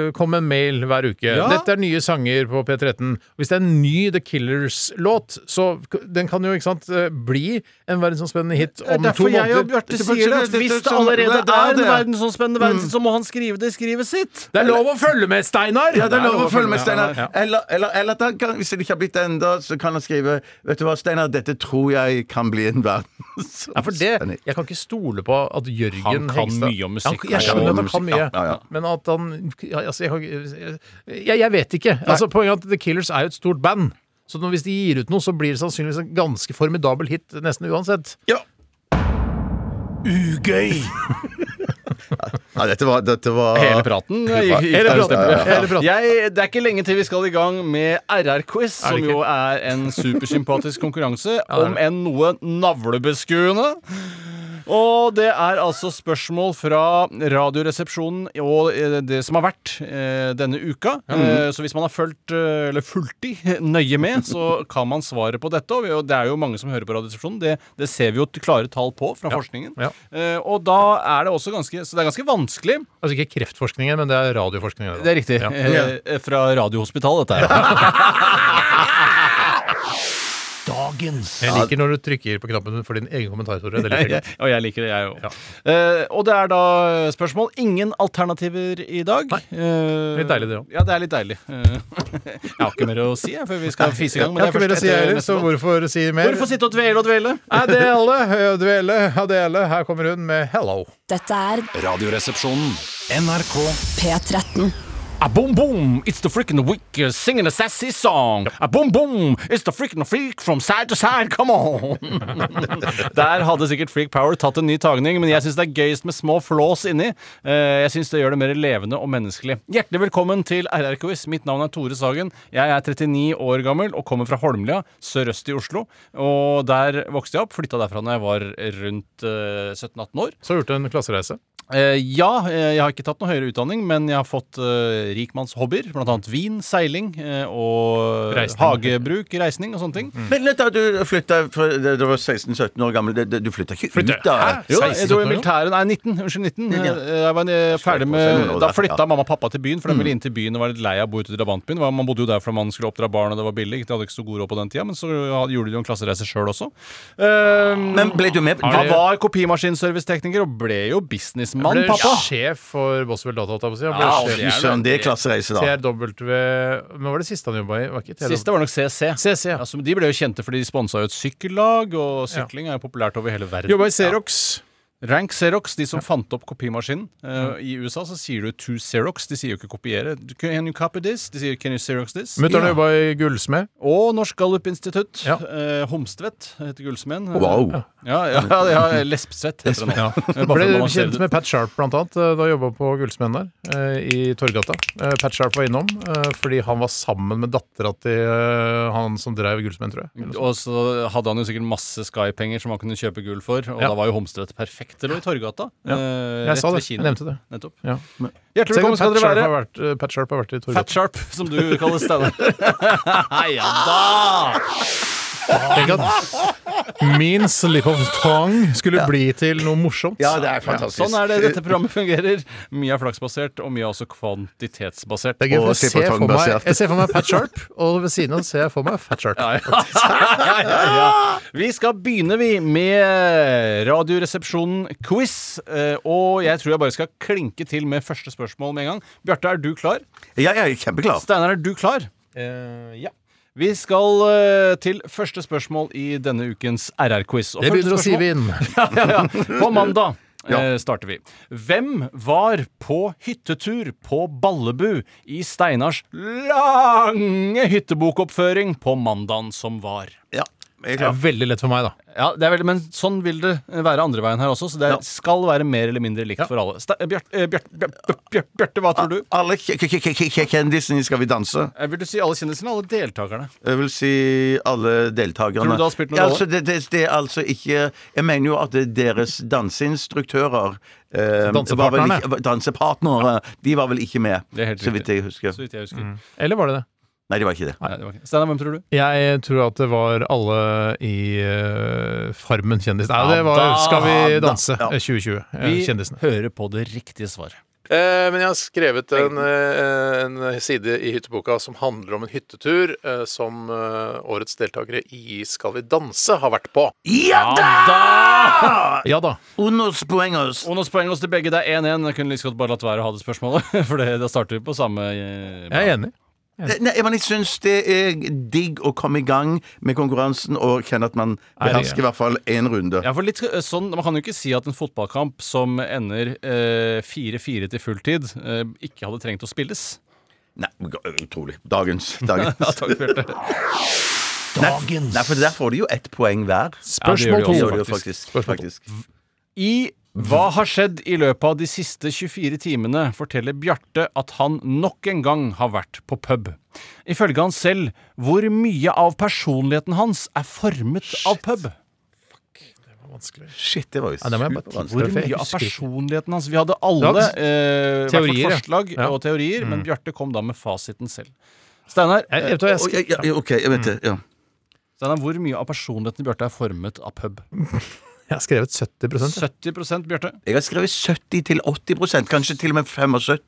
eh, kom med en mail hver uke. Dette er nye sanger på P13. Hvis det er en ny The Killers-låt, så k- den kan jo ikke sant, eh, bli en verdensomspennende hit om to måneder. verdensomspennende sånn verden, så må han skrive det i skrivet sitt. Det er lov å følge med, Steinar! Ja, det er lov å følge med, Steinar. Ja, ja. Eller, eller, eller da kan, hvis det ikke har blitt det ennå, så kan han skrive Vet du hva, Steinar, dette tror jeg kan bli en [LAUGHS] Ja, for verdensomspennende det, hit. jeg kan ikke stole på at Jørgen Han kan Hegstad- mye om musikk. Han, jeg skjønner og at han kan musikk, mye, ja. Ja, ja. men at han ja, altså, jeg, kan ikke- jeg, jeg vet ikke. Altså, poenget er at The Killers er jo et stort band. Så når, hvis de gir ut noe, så blir det sannsynligvis en ganske formidabel hit nesten uansett. Ja. Ugøy! [LAUGHS] Ja, dette var, dette var Hele praten. Hele gikk- gikk der i praten, stempelet. ja, ja, ja. Hele praten. Jeg, det er ikke lenge til vi skal i gang med RR-quiz, Er som det ikke? jo er en supersympatisk konkurranse, om enn noe navlebeskuende. Og det er altså spørsmål fra Radioresepsjonen og eh, det som har vært eh, denne uka. Eh, så hvis man har fulgt, eh, eller fulgt de nøye [LAUGHS] med, så kan man svaret på dette. Og vi- Og det er jo mange som hører på Radioresepsjonen. Det, det ser vi jo t- klare tall på fra forskningen. ja. Eh, og da er det også ganske Så det er ganske vanskelig. Altså ikke kreftforskningen, men det er radioforskningen. Det er riktig. [LAUGHS] Ja. Eh, fra Radiohospitalet, dette her. Dagens Jeg liker når du trykker på knappen for din egen kommentar, Tore. Det er litt ekkelt. og jeg liker det, jeg òg. Eh, og det er da spørsmål. Ingen alternativer i dag. Eh, Litt deilig det også. Ja, det er litt deilig. Eh, [LAUGHS] jeg har ikke mer å si, jeg, før vi skal fise i gang. Jeg har ikke mer å si heller, så hvorfor si mer? Hvorfor sitte og dvele og dvele? Adele, Adele, Adele. Her kommer hun med 'Hello'. Dette er Radioresepsjonen. P13. A boom boom, it's the freaking week uh, singing a sassy song. A boom boom, it's the freaking freak from side to side, [LAUGHS] come on! Der hadde sikkert Freak Power tatt en ny tagning, men jeg syns det er gøyest med små flås inni. Eh, Jeg syns det gjør det mer levende og menneskelig. Hjertelig velkommen til RR-quiz. Mitt navn er Tore Sagen. Jeg er 39 år gammel og kommer fra Holmlia, sørøst i Oslo. Og der vokste jeg opp. Flytta derfra da jeg var rundt eh, 17-18 år. Så har du gjort en klassereise. Eh, ja, eh, jeg har ikke tatt noe høyere utdanning, men jeg har fått eh, rikmannshobbyer. Blant annet vin, seiling eh, og Reisning. Mm. hagebruk, reisning og sånne ting. Men da du flytta fra da du var 16-17 år gammel, det- det- du flytta ikke ut da? Jo, da, 16, jeg dro i 17 år, militæret Nei, 19. Unnskyld, 19. Eh, Jeg var eh, ferdig med Da flytta mamma og pappa til byen, for de ville inn til byen og var litt lei av å bo ute i drabantbyen. Man bodde jo der fordi man skulle oppdra barn, og det var billig. De hadde ikke så god råd på den tida, men så hadde- gjorde de jo en klassereise sjøl også. Eh, Men ble du med? han var kopimaskinservicetekniker og ble jo businessmann, Ble pappa. sjef for Boswell Data, holdt jeg på å si. Han ble Ja, sjef. Fy søren, det klassereise, da. TRW Men hva var det siste han jobba i? Var ikke TRW? Siste var nok CC. CC, ja. Altså, de ble jo kjente fordi de sponsa jo et sykkellag, og sykling er jo populært over hele verden. Jobba i Xerox. Rank Xerox, de som fant opp kopimaskinen. Eh, I USA så sier du to Xerox, de sier jo ikke kopiere. Can you copy this? De sier can you Xerox this? Mutter'n jobba i gullsmed. Og Norsk Gallup-institutt. Ja. Eh, Homstvedt heter gullsmeden. Wow. Ja, ja, ja, ja Lespsvedt heter den nå. Eh, bare Ble for å annonsere kjent det. med Pat Sharp blant annet eh, da jobba på Gullsmeden der eh, i Torgata. Eh, Pat Sharp var innom eh, fordi han var sammen med dattera til eh, han som drev Gullsmeden, tror jeg. Og så hadde han jo sikkert masse Sky-penger som han kunne kjøpe gull for, og Ja. da var jo Homstvedt perfekt. Det lå i Torgata. eh, Jeg sa rett ved det. Jeg kinoen. nevnte det. Nettopp. Ja. Hjertelig Selv om velkommen skal Pat dere Sharp, har være. vært, eh, Pat Sharp har vært i Fat Torgata. Sharp, som du kaller [LAUGHS] Steinar. ja da! Tenk at min slip of tongue skulle bli til noe morsomt. Ja, det er fantastisk. Sånn er det dette programmet fungerer. Mye er flaksbasert, og mye er også kvantitetsbasert. Det er gøy, Og for jeg ser, slip of for meg, tongue-basert. jeg ser for meg Pat Sharp, og ved siden av ser jeg for meg Fat Sharp. [LAUGHS] ja, ja, ja. Vi skal begynne vi med Radioresepsjonen-quiz. eh, Og jeg tror jeg bare skal klinke til med første spørsmål med en gang. Bjarte, er du klar? Eh, Ja, jeg er kjempeklar. Steinar, er du klar? ja. Vi skal eh, til første spørsmål i denne ukens RR-quiz. Og Det første begynner å sive spørsmål- inn. [LAUGHS] ja, ja, ja. På [LAUGHS] mandag eh, starter vi. Hvem var på hyttetur på Ballebu i Steinars lange hyttebokoppføring på mandagen som var? Ja, jeg er Det klar. er veldig lett for meg, da. Ja, det er veldig, Men sånn vil det være andre veien her også, så det Ja. skal være mer eller mindre likt for alle. Ste- eh, Bjarte, eh, Bjarte, Bjarte, Bjarte, Bjarte, hva tror du? Alle k- k- k- k- k- kjendisene i Skal vi danse. Jeg vil du si alle kjendisene? Alle deltakerne. Jeg vil si alle deltakerne. Tror du det har spilt noen Ja, rolle? altså, det, det, det er altså ikke Jeg mener jo at det er deres danseinstruktører eh, var vel dansepartnerne? ikke, Dansepartnere. De var vel ikke med, Det er helt så vidt riktig. jeg husker. Så vidt jeg husker. Eller var det det? Nei, de var ikke det. Nei, det var ikke- Steinar, hvem tror du? Jeg tror at det var alle i eh, Farmen kjendis. Nei, det var da, Skal vi da. danse Ja. eh, 2020. eh, Vi Kjendisene. hører på det riktige svaret. Eh, men jeg har skrevet en, eh, en side i hytteboka som handler om en hyttetur eh, som eh, årets deltakere i Skal vi danse har vært på. Ja da! Ja da. Unos poengos. Og nå poeng oss til begge. Det er 1-1. Jeg kunne like så godt bare latt være å ha det spørsmålet. [LAUGHS] For det, da starter vi på samme eh, Jeg er enig. Nei, men jeg syns det er digg å komme i gang med konkurransen og kjenne at man behersker i hvert fall én runde. Ja, for litt eh, sånn, Man kan jo ikke si at en fotballkamp som ender eh, 4-4 til fulltid, eh, ikke hadde trengt å spilles. Nei, øh, utrolig. [LAUGHS] Dagens. Dagens. Takk, Bjarte. Dagens. Nei, for der får de jo ett poeng hver. Spørsmål Det to. gjør de jo faktisk. faktisk. I Hva har skjedd i løpet av de siste 24 timene, forteller Bjarte at han nok en gang har vært på pub. Ifølge han selv, hvor mye av personligheten hans er formet av pub? Shit, det var jo Ja, det må jeg bare supervanskelig. Hvor for jeg mye av husker ikke. personligheten hans Vi hadde alle Ja, eh, hvert vårt teorier, ja. forslag Ja. og teorier, men Bjarte kom da med fasiten selv. Steinar, eh, Jeg, jeg, vet hva jeg, Å, skri- ja, ja, ja, OK, jeg vet det. Ja. Steinar, hvor mye av personligheten til Bjarte er formet av pub? jeg har skrevet 70 jeg. 70 Bjarte. Jeg har skrevet 70-80 kanskje til og med 75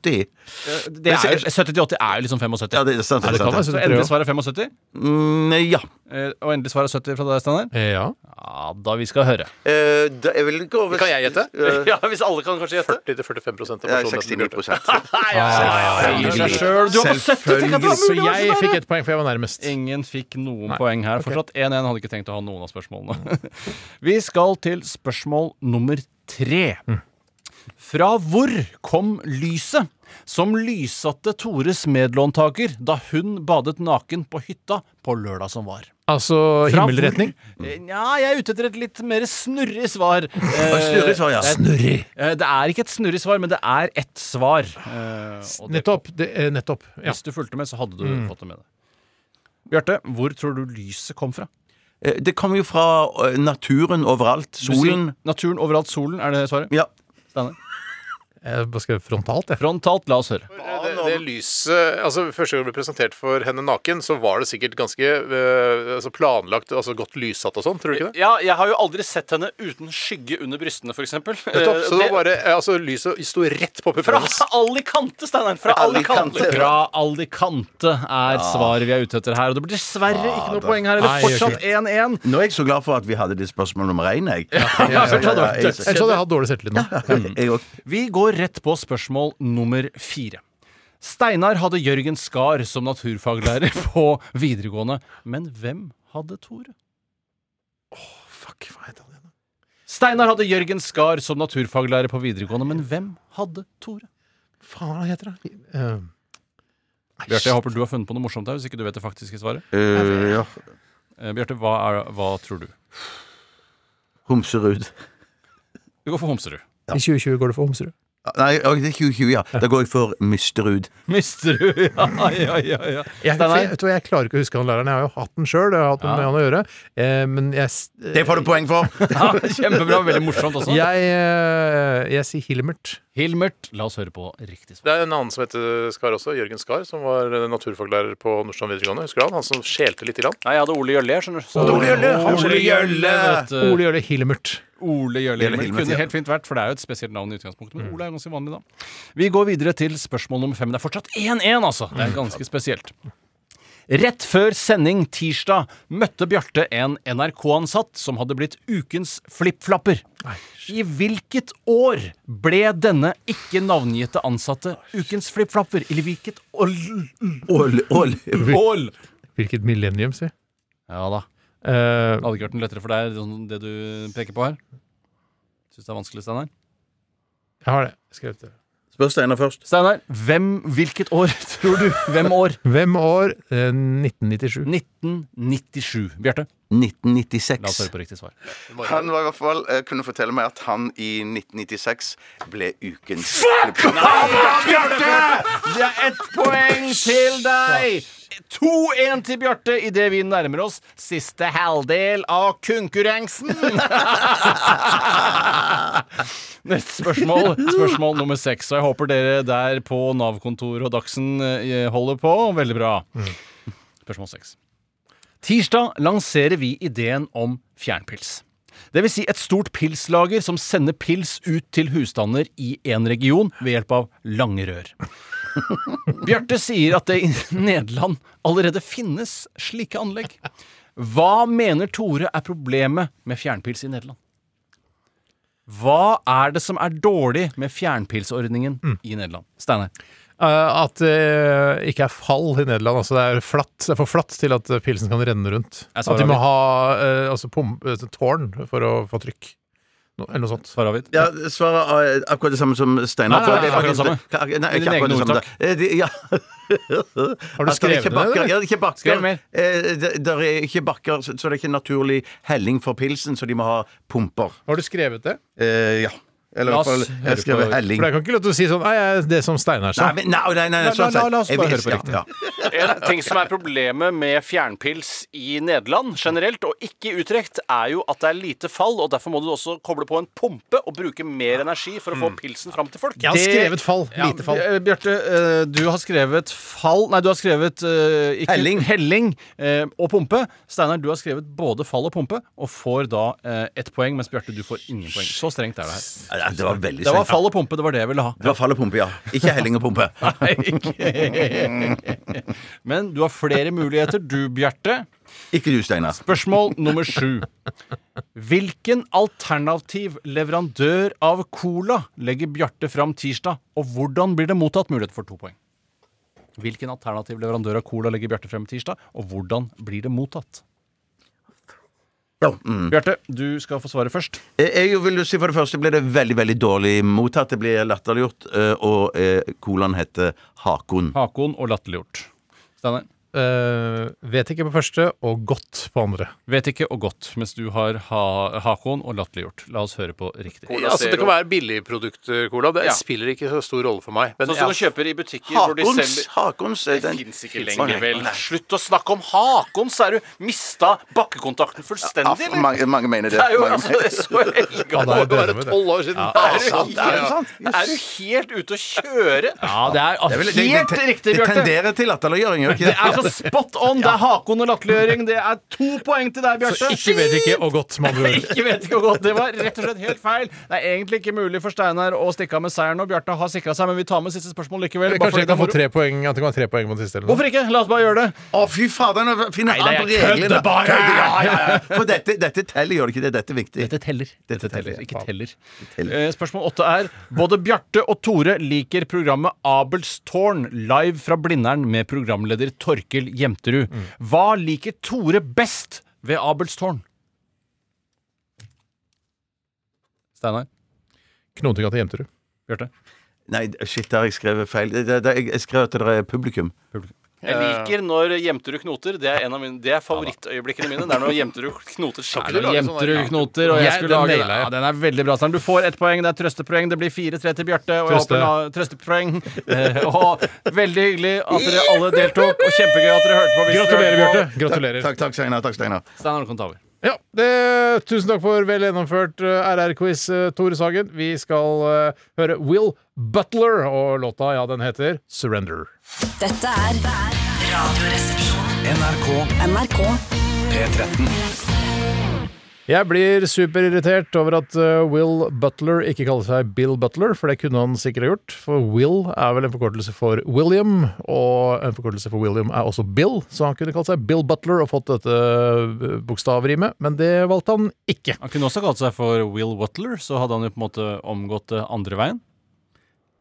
Det er jo- 70-80 er jo liksom 75. Ja, det er sant. Ja, det kan være sant. Så 73 endelig også. svar er 75, Mm, ja. eh, og endelig svar er 70 fra deg, Steinar. Eh, Ja. Ja, da vi skal høre. Eh, da, jeg vil ikke over... Kan jeg gjette? Eh, Ja, Hvis alle kan kanskje gjette. 40-45 av ja, 69 Seg selv. [LAUGHS] Du har på 70, tenk at det var Så mulig! å Altså, jeg være fikk Steinar. ett poeng, for jeg var nærmest. Ingen fikk noen poeng her. Fortsatt 1-1. Hadde ikke tenkt å ha noen av spørsmålene. [LAUGHS] Vi skal til spørsmål nummer tre. Mm. Fra hvor kom lyset som lyssatte Tores medlåntaker da hun badet naken på hytta på lørdag som var? Altså Fra himmelretning. Mm. hvor- Eh, Nja, jeg er ute etter et litt mer snurrig [LAUGHS] svar. snurrig svar, ja. Det er- Snurri. eh, Det er ikke et snurrig svar, men det er ett svar. Eh, og det- Nettopp. Det, eh, nettopp. Ja. Hvis du fulgte med, så hadde du Mm. fått det med deg. Bjarte, hvor tror du lyset kom fra? Eh, Det kommer jo fra eh, naturen overalt. Du sier Solen. Naturen overalt, solen, er det svaret? Ja. Steinar? Jeg bare skrev frontalt, jeg. Frontalt, la oss høre. Det, det lyset, altså Første gang det ble presentert for henne naken, så var det sikkert ganske eh, altså planlagt, altså godt lyssatt og sånn, tror du ikke det? Ja, jeg har jo aldri sett henne uten skygge under brystene, f.eks. Nettopp, så det var bare, eh, altså Lyset sto rett på puppene hennes. Alicante, Steinar! Fra Alicante. Alicante. Fra Alicante er svaret vi er ute etter her. Og det blir dessverre ikke noe poeng her. Eller Ah. Nei, fortsatt 1-1. Nå er jeg så glad for at vi hadde det spørsmål nummer én, jeg. Ja, [LAUGHS] jeg- Mm. Ellers hadde jeg hatt dårlig selvtillit nå. jeg- jeg- Vi går rett på spørsmål nummer fire. Steinar hadde Jørgen Skar som naturfaglærer [LAUGHS] på videregående. Men hvem hadde Tore? Fuck, hva heter han igjen? Steinar hadde Jørgen Skar som naturfaglærer på videregående, men hvem hadde Tore? Faen, hva heter han? Eh, nei, Bjarte, jeg håper du har funnet på noe morsomt her, hvis ikke du vet det faktiske svaret. Eh, ja. Eh, Bjarte, hva, er, hva tror du? Homserud. Du går for Homserud. I 2020 går det for Homserud. Nei, ok, det er 2020, ja. Da går jeg for Mysterud. Misterud, ja, ja, ja. ja. Jeg, for, jeg, Steinar? vet du hva, jeg klarer ikke å huske han læreren. Jeg har jo hatt den sjøl. Jeg har hatt noe med han å gjøre. Eh, men jeg, s- eh, Det får du poeng for! Ja, kjempebra. Veldig morsomt også. jeg, eh, jeg sier Hilmert. Hilmert, la oss høre på riktig svar. Det er en annen som heter Skar også. Jørgen Skar, som var eh, naturfaglærer på Nordstrand videregående. Husker du han? Han som skjelte lite grann. Nei, jeg hadde Ole Jølle, jeg, skjønner du. Så- Ole Jølle, han skjønner Jølle. vet du. Ole gjør det Hilmert. Ole Jølle Jølle Hilmert Hilmert, kunne ja. helt fint vært, for det er jo et spesielt navn i utgangspunktet. Men Ole er ganske vanlig, da. Vi går videre til spørsmål nummer fem. Det er fortsatt 1-1, altså. Det er ganske spesielt. Rett før sending tirsdag møtte Bjarte en NRK-ansatt som hadde blitt ukens flippflapper. I hvilket år ble denne ikke navngitte ansatte ukens flippflapper? Eller hvilket ål... [LAUGHS] Ål, ål. ål? Hvilket millennium, si. Ja da. Eh, Det hadde ikke vært noe lettere for deg, sånn det du peker på her. Syns det er vanskelig, Steinar? jeg har det. Skrevet det. Spør Steinar først. Steinar, hvem, hvilket år [LAUGHS] tror du? Hvem år? Hvem år? Eh, 1997. 1997. Bjarte, la oss 1996. høre på riktig svar. Han var i hvert fall, eh, kunne fortelle meg at han i 1996 ble ukens Det er ett poeng til deg! 2-1 til Bjarte idet vi nærmer oss siste halvdel av konkurransen. [LAUGHS] Neste spørsmål, spørsmål nummer seks. Og jeg håper dere der på Nav-kontoret og Dagsen eh, holder på. Veldig bra. Spørsmål seks. Tirsdag lanserer vi ideen om fjernpils. Det vil si et stort pilslager som sender pils ut til husstander i en region ved hjelp av lange rør. Bjarte sier at det i [LAUGHS] Nederland allerede finnes slike anlegg. Hva mener Tore er problemet med fjernpils i Nederland? Hva er det som er dårlig med fjernpilsordningen i Nederland? Steinar. Eh, at det ikke er fall i Nederland. Altså det er flatt, det er for flatt til at eh, pilsen kan renne rundt. Jeg At svarer de må litt. ha eh, altså pum, eh, tårn for å få trykk. No, eller noe sånt. Svar avgitt. Ja, svaret er akkurat det samme som Steinar. Nei, det er akkurat det samme. Nei, Nei, Dine ikke egne akkurat det samme. ordtak. Eh, de- Ja. Har du At det skrevet er ikke ned det? bakker- eller? Ja, det er ikke bakker. Skrev mer. Eh, det- det er ikke bakker, så så det er ikke naturlig helling for pilsen, så de må ha pumper. Har du skrevet det? Eh, ja. Eller i La hvert oss fall høre jeg på- skrev helling. For jeg kan ikke lov til å si sånn Nei, jeg- det som Steinar sa. Nei, men, nei, nei, nei, La- la- sånn sett. la oss Jeg bare høre vil- på riktig. Ja. En ting som er problemet med fjernpils i Nederland generelt, og ikke i Utrecht, er jo at det er lite fall, og derfor må du også koble på en pumpe og bruke mer energi for å få pilsen fram til folk. Jeg har skrevet fall. Ja, Lite fall. eh, Bjarte, eh, du har skrevet fall Nei, du har skrevet eh, ikke, Helling. eh, og pumpe. Steinar, du har skrevet både fall og pumpe, og får da eh, ett poeng, mens Bjarte, du får ingen poeng. Så strengt er det her. Ja, Det var Det veldig var strengt. fall og pumpe, det var det jeg ville ha. Det var fall og pumpe, ja. Ikke helling og pumpe. Nei, ikke. Men du har flere muligheter, du, Bjarte. Ikke du, Steinar. Spørsmål nummer sju. Hvilken alternativ leverandør av cola legger Bjarte fram tirsdag, og hvordan blir det mottatt? Mulighet for to poeng. Hvilken alternativ leverandør av cola legger Bjarte frem tirsdag, og hvordan blir det mottatt? Ja, mm. Bjarte, du skal få svare først. Eh, Jeg vil jo si for det første ble det veldig veldig dårlig mottatt. Det ble latterliggjort, eh, og eh, colaen heter Hakon. Hakon og latterliggjort. Steinar. Eh, vet ikke på første, og godt på andre. Vet ikke og godt, mens du har ha Hakon og latterliggjort. La oss høre på riktig. Ja, altså, det kan være billigprodukt-cola. Det Ja. spiller ikke så stor rolle for meg. Men Sånn som du jeg- kjøper i butikker hvor de Hakons! selger Hakons eh, den- Fins ikke Finnes lenger, ikke. vel. Slutt å snakke om Hakon, så er du mista bakkekontakten Ja, fullstendig, for eller? mange, mange mener det. Det er jo Mange [LAUGHS] altså det er så det elegant. må jo det er være det. tolv år siden. Ja, Er det sant, helt- Er du helt ute å kjøre? Ja, det er Det er vel- det- det- helt riktig, Det Bjarte. tenderer til latterliggjøring, gjør ikke Det er så altså spot on! Det er Hakon og latterliggjøring. Det er to poeng til deg, Bjarte. Så ikke vet ikke og godt, med andre ord. Ikke vet ikke hvor godt. Det var rett og slett helt feil. Det er egentlig ikke mulig for Steinar å stikke av med seieren nå. Bjarte har sikra seg, men vi tar med siste spørsmål likevel. bare fordi Eh, Kanskje jeg kan få det er moro. tre poeng, at jeg kan ha tre poeng på den siste? eller noe. Hvorfor ikke? La oss bare gjøre det. Å, fy fader, nå finner Nei, det er han på reglene! kødde bare. Kødde, ja, ja, ja. [LAUGHS] For dette, dette teller, gjør det ikke det? Dette er viktig. Dette teller. Dette teller, Ikke ja. teller. teller. Eh, Spørsmål åtte er Både Bjarte og Tore liker programmet Abelstårn live fra Blindern med programleder Torkil Jemterud. Mm. Hva liker Tore best ved Abelstårn? Steinar? Knotinga til Jemterud. Bjarte? Nei, shit, der har jeg skrevet feil. Det- det- det- Jeg skrev at det er publikum. Jeg liker når Jemterud knoter. Det er, en av mine, det er favorittøyeblikkene mine. Det er når Jemterud knoter skikkelig. lage sånn Jemterud der- knoter, og jeg Jeg- skulle den lage naila jeg. ja, Den er veldig bra. Stein. Du får ett poeng. Det er trøstepoeng. Det blir 4-3 til Bjarte. Og jeg Trøste. håper na- trøstepoeng. Eh, Og veldig hyggelig at dere alle deltok, og kjempegøy at dere hørte på. Hvis dere Gratulerer, hørte på. Bjarte. Gratulerer. Takk, takk, Steinar. Takk, Steinar. Steinar, du kan ta over. Ja, det, Tusen takk for vel gjennomført eh, RR-quiz, eh, Tore Sagen. Vi skal eh, høre Will Butler og låta ja, den heter Surrender. Dette er Radioresepsjonen. NRK NRK P13. Jeg blir superirritert over at eh, Will Butler ikke kaller seg Bill Butler, for det kunne han sikkert ha gjort. For Will er vel en forkortelse for William, og en forkortelse for William er også Bill, så han kunne kalt seg Bill Butler og fått dette eh, bokstavrimet, men det valgte han ikke. Han kunne også kalt seg for Will Wutler, så hadde han jo på en måte omgått det andre veien.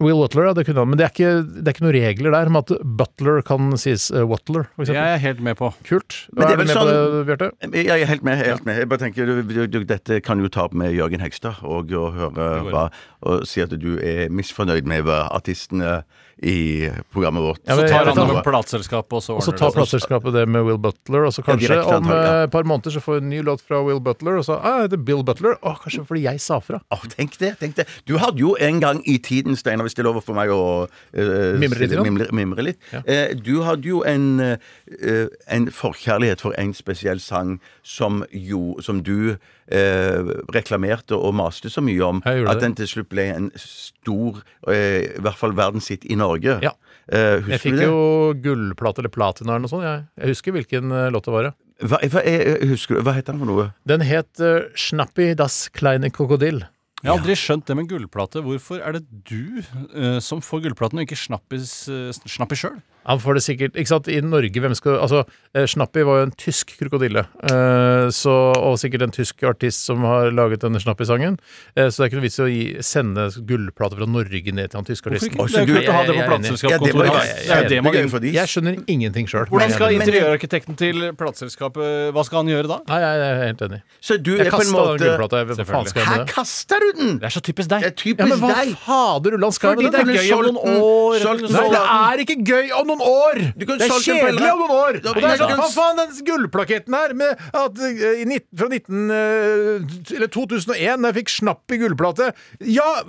Will Butler, ja, det kunne han, men det er ikke, det er ikke noen regler der om at Butler kan sies uh, Wattler, for Jeg eksempel. er helt med på. Kult. Men det Er er du vel med på det, sånn- Bjarte? Jeg jeg er helt med. helt med Jeg bare tenker, du, du, du, Dette kan jo ta opp med Jørgen Hegstad og, og høre hva Og si at du er misfornøyd med hva artistene i programmet vårt Ja, Så men jeg tar han vet det hva- med plateselskapet, og så Og så ordner tar det seg. plateselskapet det med Will Butler, og så kanskje direkte om antagelig, ja. eh, et par måneder så får vi en ny låt fra Will Butler, og så ah, jeg heter Bill Butler. Å, kanskje fordi jeg sa fra. Å, tenk det, tenk det. Du hadde jo en gang i tiden, Steinar, hvis det er lov for meg å eh, Mimre litt, si det, ja. mimre, mimre litt. Eh, du hadde jo en, eh, eh, en forkjærlighet for en spesiell sang som, jo, som du eh, reklamerte og maste så mye om, Jeg gjorde at det. den til slutt ble en stor, eh, i hvert fall verdens hit i Norge. Ja. Eh, Jeg husker fikk du det? jo gullplate eller platina eller noe sånt. Jeg, jeg husker hvilken eh, låt det var. ja. Hva, hva, er- husker du, hva heter den for noe? Den het eh, Schnappi das kleine krokodil. Jeg har aldri skjønt det med gullplate. Hvorfor er det du eh, som får gullplaten, og ikke Snappis uh, Snappi sjøl? Han får det sikkert, ikke sant, I Norge, hvem skal Altså, eh, Schnappi var jo en tysk krokodille. Eh, så, og sikkert en tysk artist som har laget denne Schnappi-sangen. Eh, så det er ikke noe vits i å gi, sende gullplater fra Norge ned til han tyske artisten. Hvorfor ikke? Det er jo kult å ha det på Ja, det plateselskapskontoret. var- hans. Det er jo det man gøy for de. Jeg skjønner ingenting sjøl. Hvordan skal Nei, interiørarkitekten til plateselskapet Hva skal han gjøre da? jeg jeg er helt enig. Så du er Jeg på en kasta den måte gullplata. jeg vet Hva faen skal jeg Her med det? kaster du den! Det er så typisk deg. Det er typisk Ja, men hva deg! fader Ulland skal Fordi jeg med det er det? gøy om solgt noen den. år. Solgt den. Nei, Solgt det den. er ikke gøy om noen år! Du kan Det er solgt den på kjedelig eller- om noen år! Og det er Nei, sånn, du kan- Hva faen, den gullplaketten her med at eh, i nitt- fra 19... eh, Eller 2001, da jeg fikk snapp i gullplate Ja,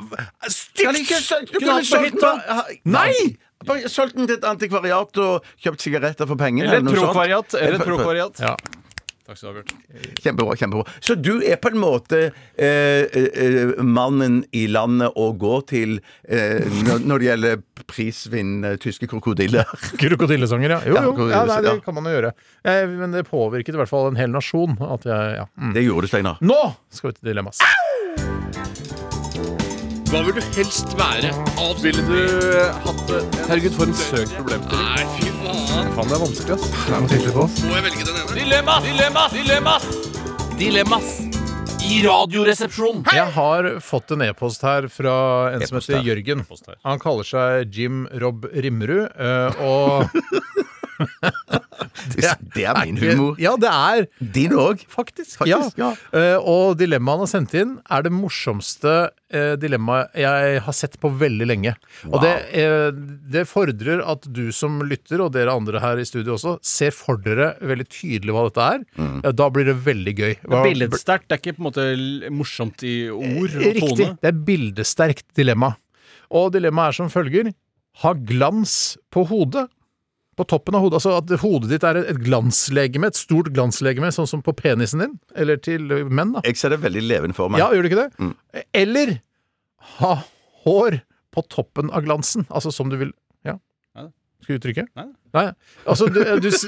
Kan ikke stygt! sø- Du Kunne kunne hatt på solgt hytta. den Nei! Bare Solgt den til et antikvariat og kjøpt sigaretter for pengene. Eller et noe sånt. prokvariat. [LAUGHS] Eller et prokvariat. Ja. Takk skal du ha, Bjørt. Kjempebra. kjempebra Så du er på en måte eh, eh, mannen i landet å gå til eh, når, når det gjelder prisvinnende tyske krokodiller. Krokodillesanger, ja. Jo, jo. Ja, nei, Ja, det krokodillesanger. kan man jo gjøre. Eh, Men det påvirket i hvert fall en hel nasjon. At jeg, ja. mm. Det gjorde du, [LAUGHS] Steinar. Nå skal vi til dilemmas. Hva vil du helst være? Ville du hatt det? Herregud, for en søk problemstilling. Nei, fy faen. Faen, det er vanskelig, ass. Det er noe tydelig på oss. Må jeg velge den ene? Dilemmas, dilemmas, dilemmas! Dilemmas i Radioresepsjonen. Jeg har fått en e-post her fra en som E-post heter her. Jørgen. Han kaller seg Jim Rob Rimmerud, eh, [LAUGHS] og Det, det er min humor. Ja, det er Din òg. faktisk. Faktisk, ja. ja. Eh, og dilemmaet han har sendt inn, er det morsomste eh, dilemmaet jeg har sett på veldig lenge. Og det, eh, det fordrer at du som lytter, og dere andre her i studio også, ser for dere veldig tydelig hva dette er. Mm. Ja, da blir det veldig gøy. Hva- Billedsterkt det er ikke på en måte l- morsomt i ord og Riktig. tone. Det er bildesterkt dilemma. Og dilemmaet er som følger. Ha glans på hodet. På toppen av hodet. Altså at hodet ditt er et glanslegeme, et stort glanslegeme, sånn som på penisen din. Eller til menn, da. Jeg ser det veldig levende for meg. Ja, gjør det ikke det? Mm. Eller ha hår på toppen av glansen. Altså som du vil Ja. Nei. Skal du trykke? Nei. Nei, altså du, du, s-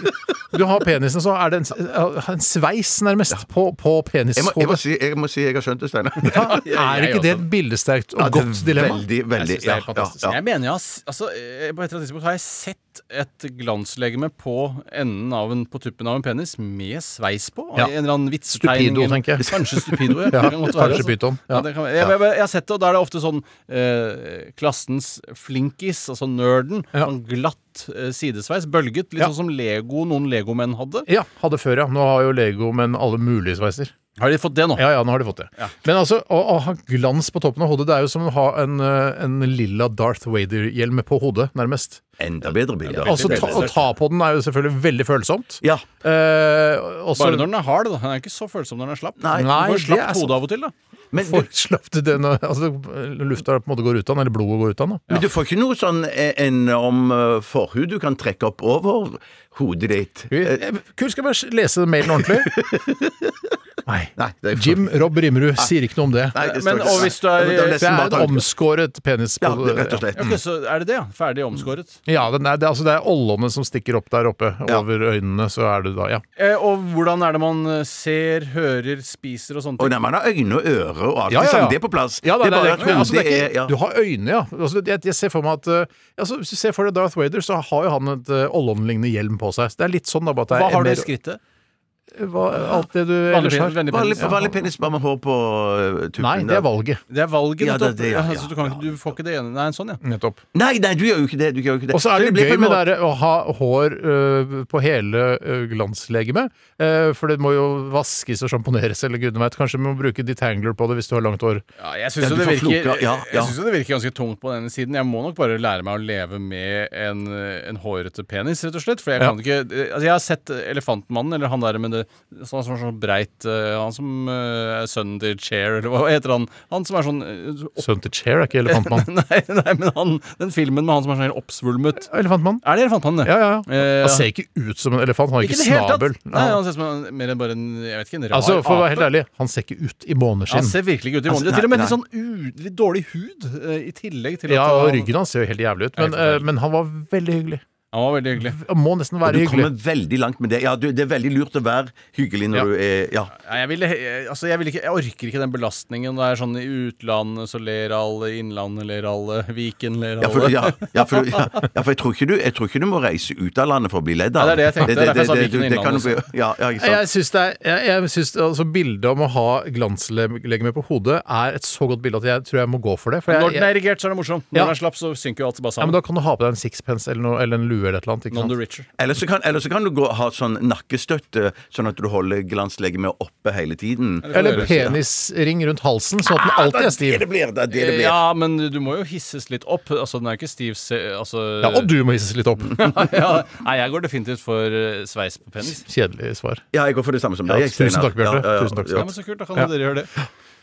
du har penisen, så er det en, s- en sveis nærmest på, på Jeg må, jeg, må penishodet. si, jeg må si jeg har skjønt det, Steinar. [LAUGHS] Er altså. ikke det et bildesterkt og Ja, det er godt dilemma? Veldig, veldig, Jeg synes det er ja, helt ja, fantastisk. ja. Jeg mener jeg har, s- altså, eh, På et eller annet tidspunkt har jeg sett et glanslegeme på enden av en, på tuppen av en penis med sveis på. Ja. En eller annen vitsetegning. Stupido, tenker jeg. Kanskje stupido. [LAUGHS] Ja. Det kan Ja, godt være, altså. kanskje pyton, ja. det kan, være. jeg, jeg, jeg, har sett det, og da er det ofte sånn eh, klassens flinkis, altså nerden, sånn glatt eh, sidesveis, bølget. Litt Ja. sånn som Lego, noen legomenn hadde. Ja, hadde før, ja. Nå har jo Lego men alle mulige sveiser. Har de fått det nå? Ja, ja, nå har de fått det. Men altså, å, å ha glans på toppen av hodet, det er jo som å ha en, eh, en lilla Darth Vader-hjelm på hodet, nærmest. Enda bedre bilde. Altså, ta, å ta på den er jo selvfølgelig veldig følsomt. Ja. Eh, også, Bare når den er hard, da. Den er ikke så følsom når den er slapp. Nei, du får det er slapt sant. hode av og til, da. Men du, [LAUGHS] Får slapp til den, altså, lufta på en måte går ut av den, eller blodet går ut av den. Da. men du får ikke noe sånn eh, enorm eh, forhud du kan trekke opp over hodet ditt. Eh, Kurt, skal jeg bare lese mailen [LAUGHS] ordentlig? Nei. Nei, det er- sånn. Jim Rob Rimrud sier ikke noe om det. Nei, det står Men, ikke- sånn. og hvis du er- Ja, men det Det er nesten en bare tanken. omskåret penis. Ja, på- det- rett og slett. Ok, så er det det, ja. Ferdig omskåret. Ja, den er, det, er- altså, det er ollene som stikker opp der oppe over øynene, så er det da, ja. Eh, og hvordan er det man eh, ser, hører, spiser og sånne Og ting? når man har øyne og ører og alt Ja, ja, ja. sånn, det er på plass. Ja, nei, det er bare nei, at men altså, hodet det er er ikke- ja. Du har øyne, ja. Altså, jeg, jeg ser for meg at eh, altså, Hvis du ser for deg Darth Vader, så har jo han et eh, ollonlignende hjelm på seg. Så det er litt sånn da, bare at det er Hva har du mer- i skrittet? Hva, alt det du Vanlig ellers pen- har. vennlig Vanlig, penis, ja. vanlig penis bare med hår på eh, tuppen. Nei, det der. er valget. Det er valget, Ja, det er nettopp. det, ja, Altså, du, kan, ja, ikke- du får ikke det ene. Nei, sånn, ja. Nettopp. Nei, nei, du gjør jo ikke det. Du gjør jo ikke det. Og så er det, blir på gøy en med måte- det der å ha hår øh, på hele øh, glanslegemet. eh, for det må jo vaskes og sjamponeres, eller gudene veit. Kanskje vi må bruke detangler på det hvis du har langt hår. ja jeg syns jo Ja, du det, får virker- floka, ja, ja. jeg synes jo det virker ganske tungt på denne siden. Jeg må nok bare lære meg å leve med en, eh, en hårete penis, rett og slett. For jeg kan ikke eh, Altså, jeg har sett eh, Elefantmannen, eller han der med det sånn som er sånn breit eh, Han som eh, er sønnen til Chair, eller hva heter han? Han som er sånn eh, [LAUGHS] opp... Sønnen til Chair er ikke [LAUGHS] elefantmann. Nei, nei, men han, den filmen med han som er sånn helt oppsvulmet Elefantmann? Er det Elefantmannen? Ja, ja. Eh, Han ser ikke ut som en elefant. Han har Ikke i ikke, det hele tatt. snabel. Nei, Ja. han ser ut som en- mer enn bare en, jeg vet ikke, en rar Altså, For å være ape. helt ærlig, han ser ikke ut i Han måneskinn. ser virkelig ikke ut i Altså, måneden. Til og med nei, litt sånn u, litt dårlig hud eh, i tillegg til Ja, at og han, ryggen hans ser jo helt jævlig ut, Ja, men, helt forferdelig. eh, men han var veldig hyggelig. han var veldig hyggelig. Han må nesten Og være du hyggelig. kommer veldig langt med det. Ja, du, det er veldig lurt å være hyggelig når Ja. du er Ja. Nei, jeg, ville, jeg- altså, jeg, ville ikke, jeg orker ikke den belastningen. Det er sånn I utlandet så ler alle, i innlandet ler alle, Viken ler alle. Ja, for, ja, ja, for, ja, ja, for jeg, tror ikke du, jeg tror ikke du må reise ut av landet for å bli ledd Ja, av. det er det jeg tenkte. Derfor jeg sa Viken det- det kan du Innlandet altså. bli- ja, ja, ikke sant. Jeg syns det er- jeg- jeg syns- altså, bildet om å ha glanslegeme på hodet er et så godt bilde at jeg tror jeg må gå for det. For jeg, Når den er erigert, så er det morsomt. Når Ja. den er slapp, så synker jo alt bare Ja, men sammen. Da kan du ha på deg en sixpence eller, noe, eller en lue eller et eller annet. Ikke Non the sant? richer. Eller så kan, eller så kan du gå, ha sånn nakkestøtte, sånn at du holder glanslegemet oppe hele tiden. Ah, Eller penisring rundt halsen, sånn Ah, at den alltid er Det stiv. det blir, det er det det blir. Ja, men du må jo hisses litt opp. Altså, den er ikke stiv se, altså, Ja, Og du må hisses litt opp. [LAUGHS] ja, Nei, jeg går definitivt for eh, sveis på penis. Kjedelig svar. Ja, jeg går for det samme som Ja, deg. jeg, tusen Steinar. takk, Bjarte. Ja, ja, ja. Tusen takk. Ja, men Så kult, da kan dere gjøre det.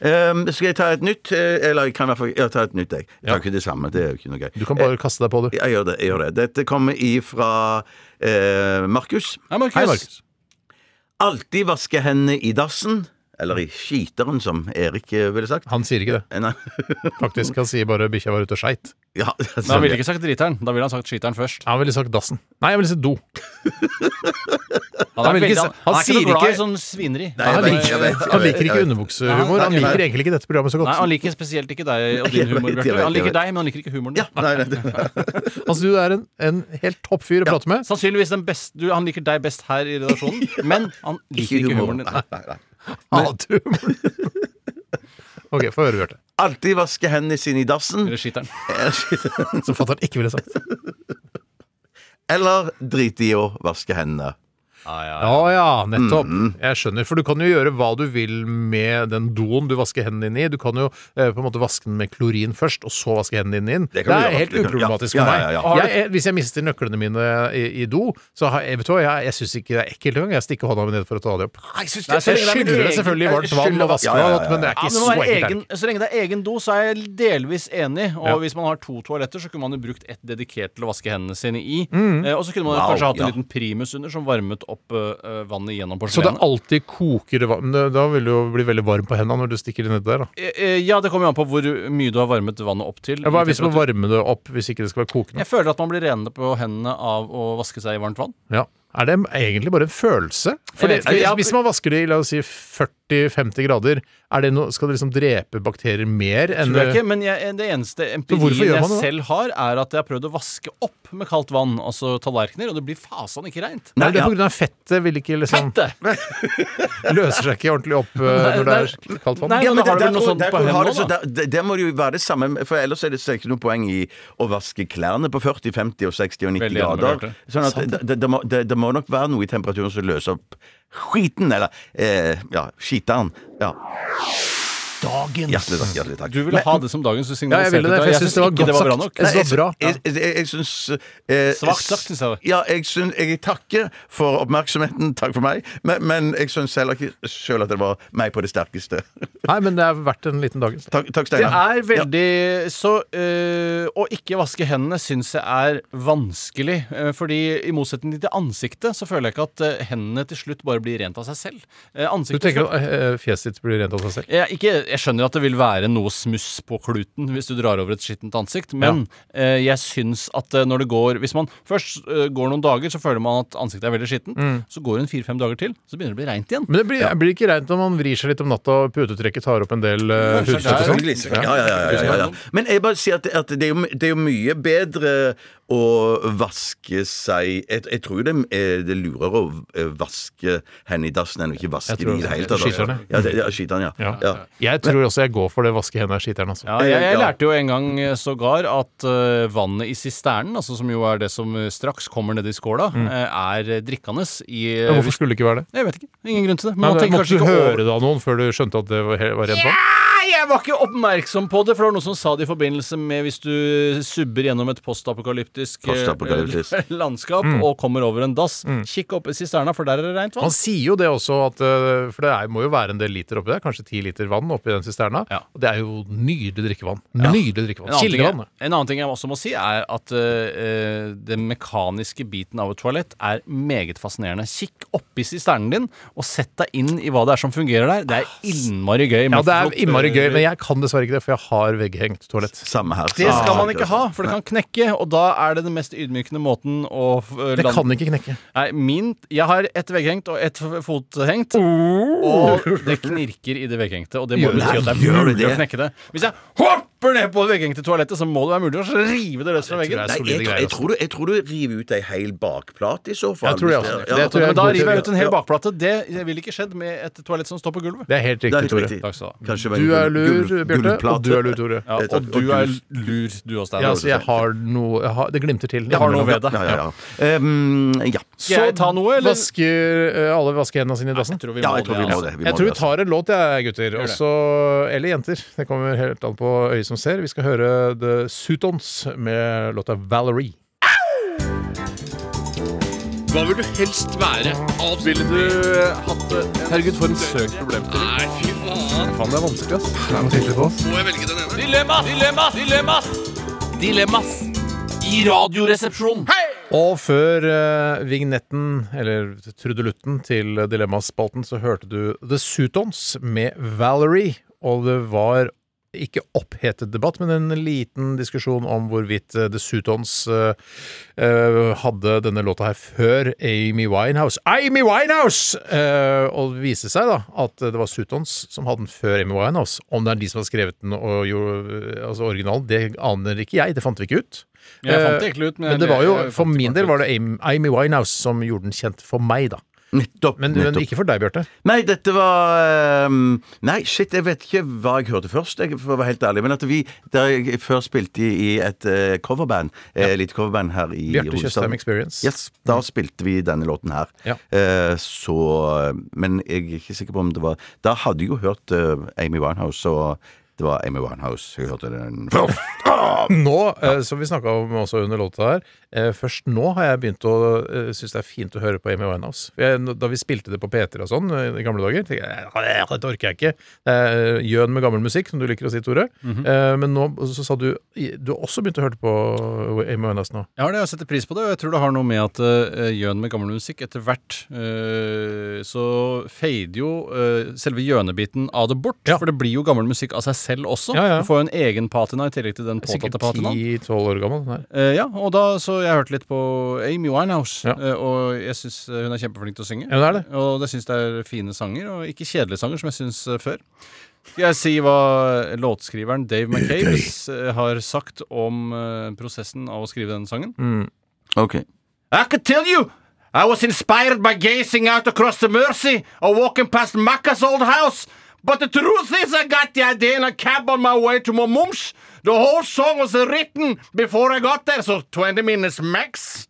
Ehm, skal jeg ta et nytt? eh, Eller jeg kan i hvert fall ja, ta et nytt, jeg. Jeg tar ikke det samme, det er jo ikke noe gøy. Du kan Eh, bare kaste deg på, du. Jeg, jeg gjør det. jeg gjør det Dette kommer ifra eh, Markus. Hei, Markus. Hei, Markus. Alltid vaske hendene i dassen. Eller i skiteren, som Erik eh, ville sagt. Han sier ikke det. Eh, Nei. [LAUGHS] Faktisk, Han sier bare 'bikkja var ute og skeit'. Ja, Men han sånn. ville ikke sagt driteren. Da ville han sagt skyteren først. Han ville sagt dassen. Nei, jeg ville sagt do. Han Han er, vil ikke veldig, si- han, han er han ikke sier noe glad ikke- i sånn svineri. Nei, jeg Han vet, jeg liker, vet, jeg han vet, liker ikke jeg vet. underbuksehumor. Han liker egentlig ikke dette programmet så Nei, Han godt. liker spesielt ikke deg og jeg din vet, humor, jeg Bjarte. vet, Han liker jeg vet. deg, men han liker ikke humoren din. Ja, nei, [LAUGHS] nei, nei. Altså, Du er en, en helt topp fyr å prate med. Sannsynligvis den best, du, Han liker deg best her i [LAUGHS] redaksjonen, men han liker ikke humoren din. Nei, nei, nei. [LAUGHS] Hater humor. OK, få høre, Bjarte. Alltid vaske hendene sine i dassen. Eller skyteren. Som fatter'n ikke ville sagt. Eller drite i å vaske hendene. Ja ja, nettopp. Mm. Jeg skjønner. For du kan jo gjøre hva du vil med den doen du vasker hendene dine i. Du kan jo eh, på en måte vaske den med klorin først, og så vaske hendene dine inn. Det, Det kan du er gjøre. helt Det kan- uproblematisk ja. for Ja, meg. ja, ja. Jeg, jeg, hvis jeg mister nøklene mine i, i do, så har jeg, vet du hva, jeg, jeg syns ikke det er ekkelt engang. Jeg stikker hånda mi ned for å ta det opp. det- Så jeg så lenge det er skyller det min selvfølgelig i egen- varmt vann skyller- og vasker Ja, ja, ja, meg, men det Ja, er ikke det må så være ekkelt. egen, heller. så lenge det er egen do, så er jeg delvis enig. Og Ja. hvis man har to toaletter, så kunne man jo brukt ett dedikert til å vaske hendene sine i. Eh, og så kunne man Wow, kanskje hatt en ja. liten primus under som varmet opp eh, vannet gjennom Så det porselenet. alltid koker vann? Da vil det jo bli veldig varm på hendene når du stikker det nedi der. da Eh, eh, Ja, det kommer jo an på hvor mye du har varmet vannet opp til. Ja, Hva er hvis man Temperatur. varmer det opp hvis ikke det skal være kokende? Jeg føler at man blir renere på hendene av å vaske seg i varmt vann. Ja. Er det egentlig bare en følelse? Fordi, vet ikke, ja. Hvis man vasker det i la oss si 40-50 grader, er det no, skal det liksom drepe bakterier mer enn Tror jeg ikke, men jeg, det eneste hvorfor empirien gjør jeg man det da? selv har, er at jeg har prøvd å vaske opp med kaldt vann, altså tallerkener, og det blir fasan ikke reint. Nei, det er pga. fettet vil ikke liksom [LAUGHS] Løser seg ikke ordentlig opp eh, Nei, når det er kaldt vann. Ja, men der- der- der- der- har det- også, så der- der- Der må det jo være det samme, for ellers er det så ikke noe poeng i å vaske klærne på 40, 50, og 60 og 90 Veldig enig med grader. Bjarte. Sånn at det- det, det, må, det, det må nok være noe i temperaturen som løser opp skiten, eller eh, ja, skiteren. Ja. Dagens. Hjertelig takk. hjertelig takk. Du ville ha det som dagens, du Ja, jeg signaliserte ville det, for jeg syns det var ikke godt det var bra sagt. nok. Jeg synes det var bra. Jeg, jeg, jeg, jeg syns eh, Svakt sagt, synes jeg det var. Ja, jeg, syns- jeg takker for oppmerksomheten. Takk for meg. Men, men jeg syns heller ikke sjøl at det var meg på det sterkeste. Nei, men det er verdt en liten dagens. Takk, takk Det er Steinar. veldig Så øh, å ikke vaske hendene syns jeg er vanskelig. øh, fordi i motsetning til ansiktet, så føler jeg ikke at øh, hendene til slutt bare blir rent av seg selv. Eh, Du ansiktet tenker at eh, fjeset ditt blir rent av seg selv? jeg, ikke, jeg skjønner at det vil være noe smuss på kluten hvis du drar over et skittent ansikt, men eh, jeg syns at eh, når det går Hvis man først eh, går noen dager, så føler man at ansiktet er veldig skittent. Så går det en fire-fem dager til, så begynner det å bli reint igjen. Mm. Men det blir, blir ikke reint om man vrir seg litt om natta og putetrekket tar opp en del uh, Kanskje hudfett og det er- sånn? Selvfølgelig. Ja, ja, ja, ja, ja, ja. Men jeg bare sier at, at det, er jo, det er jo mye bedre å vaske seg Jeg, jeg tror det er det er lurere å eh, vaske hendene i dassen enn å ikke vaske Jeg dem tror i det hele det. tatt. altså. Skyterne. Ja, det- ja, skyterne, ja. Ja. ja. Jeg tror også jeg går for det vaske hendene er skiteren, altså. Ja, jeg, jeg Ja. lærte jo en gang eh, sågar at eh, vannet i sisternen, altså som jo er det som eh, straks kommer nedi skåla, eh, er eh, drikkende i eh, Men Mm. Hvorfor skulle det ikke være det? Jeg vet ikke. Ingen grunn til det. Men Nei, man det- tenker måtte kanskje du ikke høre over det av noen før du skjønte at det var, he- var rent vann? Nei, jeg var ikke oppmerksom på det, for det var noen som sa det i forbindelse med hvis du subber gjennom et postapokalyptisk eh, Postapokalyptisk. [LAUGHS] landskap og kommer over en dass, kikk opp i sisterna, for der er det rent Mm. Han vann. sier jo det også, at, eh, for det er, må jo være en del liter oppi der. Kanskje ti liter vann oppi den sisterna. Ja. Og det er jo nydelig drikkevann. Nydelig drikkevann. En annen, ting, Kildevann. jeg- en annen ting jeg også må si, er at eh, eh, den mekaniske biten av et toalett er meget fascinerende. Kikk oppi sisternen din, og sett deg inn i hva det er som fungerer der. Det er innmari gøy. Ah, Ja, med det er flott- eh, innmari gøy, men jeg kan dessverre ikke det, for jeg har vegghengt toalett. Samme her. Det skal samme man her, ikke ha, for det kan knekke, og da er det den mest ydmykende måten å eh, Det lande- kan ikke knekke. Nei, min Jeg har ett vegghengt og ett f- fothengt. Og det knirker i det vegghengte, og det må Oh. Gjør bety at det? det Gjør er mulig det? å knekke det. Hvis jeg hopper ned på det vegghengte toalettet, så må det være mulig å rive det løs fra veggen. tror Nei, det er jeg, solide tror- greier, altså. jeg, tror du, jeg tror du river ut ei hel bakplate i så fall. Jeg tror det hvis også. det- Det tror jeg Men er da god river jeg teori. ut en hel Ja. bakplate. Det ville ikke skjedd med et toalett som står på gulvet. Det er helt Det er riktig, helt Tore. riktig. Takk skal du ha. Kanskje med en Du er gul- lur, Bjarte, gulplate. og du er lur, Tore. Ja, Jeg tar- og du er du- lur, du og Stein. Ja, så jeg har noe jeg har, Det glimter til. altså, Jeg har noe ved det. Ja, ja, ja. Um, ja. Skal jeg ta noe, eller? Vasker eh, alle vasker hendene sine i dassen? tror vi Ja, må jeg tror vi det, må altså. det. Vi må Jeg tror vi det, altså. tar en låt, jeg, gutter. det. Også, eller jenter. Det kommer helt an på øyet som ser. Vi skal høre The Sutons med låta 'Valerie'. Hva vil du helst være? Ville du hatt det? Herregud, for en søk problemstilling. Nei, fy faen. Faen, det er vanskelig, ass. Det er tydelig på oss. Må jeg velge den ene? Dilemmas! Dilemmas! Dilemmas! Dilemmas i Radioresepsjonen. Og før eh, vignetten, eller trudelutten, til Dilemmaspalten, så hørte du The Sutons med 'Valerie'. Og det var ikke opphetet debatt, men en liten diskusjon om hvorvidt eh, The Sutons eh, eh, hadde denne låta her før Amy Winehouse. Amy Winehouse! Eh, og det viste seg da at det var Sutons som hadde den før Amy Winehouse. Om det er de som har skrevet den, og jo, altså originalen, det aner ikke jeg. Det fant vi ikke ut. Jeg fant det Eh, egentlig ut, men men det jeg- var jo, jeg fant for det min ikke del ut. var det Amy Amy Winehouse som gjorde den kjent for meg, da. Nettopp. Men, men nettopp. ikke for deg, Bjarte. Nei, dette var ehm, Nei, shit, jeg vet ikke hva jeg hørte først, jeg, for å være helt ærlig. Men at vi der jeg før spilte i, i et eh, coverband, eh, litt coverband her i Bjarte hovedstaden. Tjøstheim Experience. Yes, da Mm. spilte vi denne låten her. Ja. Eh, så Men jeg er ikke sikker på om det var Da hadde jeg jo hørt eh, Amy Winehouse, og Det var Amy Winehouse. Jeg hørte den Nå, eh, som vi snakka om også under låta her, eh, først nå har jeg begynt å eh, synes det er fint å høre på Amy Winehouse. For Jeg, da vi spilte det på P3 og sånn eh, i gamle dager, tenkte jeg "Eh, dette orker jeg ikke. Det er eh, gjøn med gammel musikk, som du liker å si, Tore. Mhm. Eh, Men nå så sa du Du har også begynt å høre på Amy Winehouse nå. Ja, det, jeg setter pris på det, og jeg tror det har noe med at eh, gjøn med gammel musikk etter hvert eh, så fader jo eh, selve gjønebiten av det bort. For det blir jo gammel musikk av seg selv også. Ja, ja. Du får jo en egen patina i tillegg til den Sikkert påtatte patinaen. 10-12 år gammel. Den her. Eh, ja, og da så jeg hørte litt på Amy Winehouse, Ja. eh, og jeg syns hun er kjempeflink til å synge. Ja, det er det. Og det syns det er fine sanger, og ikke kjedelige sanger, som jeg syns eh, før. Skal jeg si hva låtskriveren Dave McCabe eh, har sagt om eh, prosessen av å skrive denne sangen? OK. I could tell you, I was inspired by gazing out across the Mercy or walking past Macca's old house. But the truth is, I got the idea in a cab on my way to my mum's. The whole song was written before I got there, so 20 minutes max.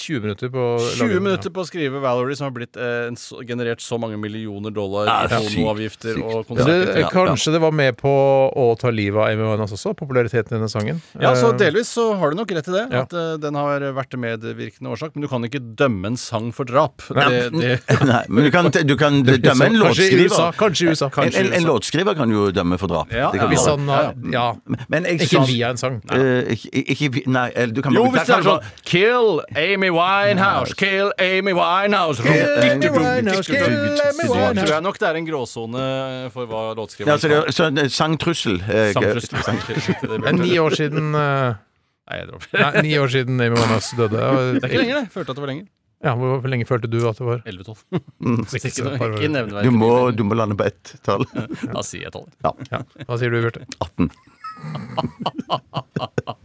20 minutter på å lage 20 den, ja. minutter på å skrive Valerie, som har blitt eh, en, så- generert så mange millioner dollar Ja, i det er sykt, pornoavgifter og Men konserter. Det, Eh, kanskje det var med på å ta livet av Amy Winehouse også? Populariteten i denne sangen. Ja, så Eh, delvis så har du nok rett i det. Ja. At eh, den har vært medvirkende årsak. Men du kan ikke dømme en sang for drap. Det, det, [LAUGHS] Nei, men du kan, du kan dømme en Kanskje i låtskriver. USA, kanskje i USA, kanskje i en, en, en USA. låtskriver kan jo dømme for drap. Ja, Det ja, kan hvis du gjøre. Sånn, han har- ja. Men jeg Ikke sa- via en sang. Eh, ikke, ikke vi- Nei, eller du kan Jo, bruke- hvis det er sånn Kill Amy Winehouse, kill Amy Winehouse. det tror jeg nok det er en gråsone eh, for hva ja, så det låtskriveren er sånn, eh, Sangtrussel. eh, Sangtrussel. sangtrussel. Det er ni år siden eh, Nei, ni år siden Amy Winehouse døde. Det er ikke lenger, det. Følte at det var lenger. Ja, Hvor følte følte du at det var? 11-12. [LAUGHS] Mm. Så ikke noe- ikke nevneverdig. Du må, du må lande på ett tall. Da sier jeg tolv. Ja. Hva sier du, Bjarte? 18.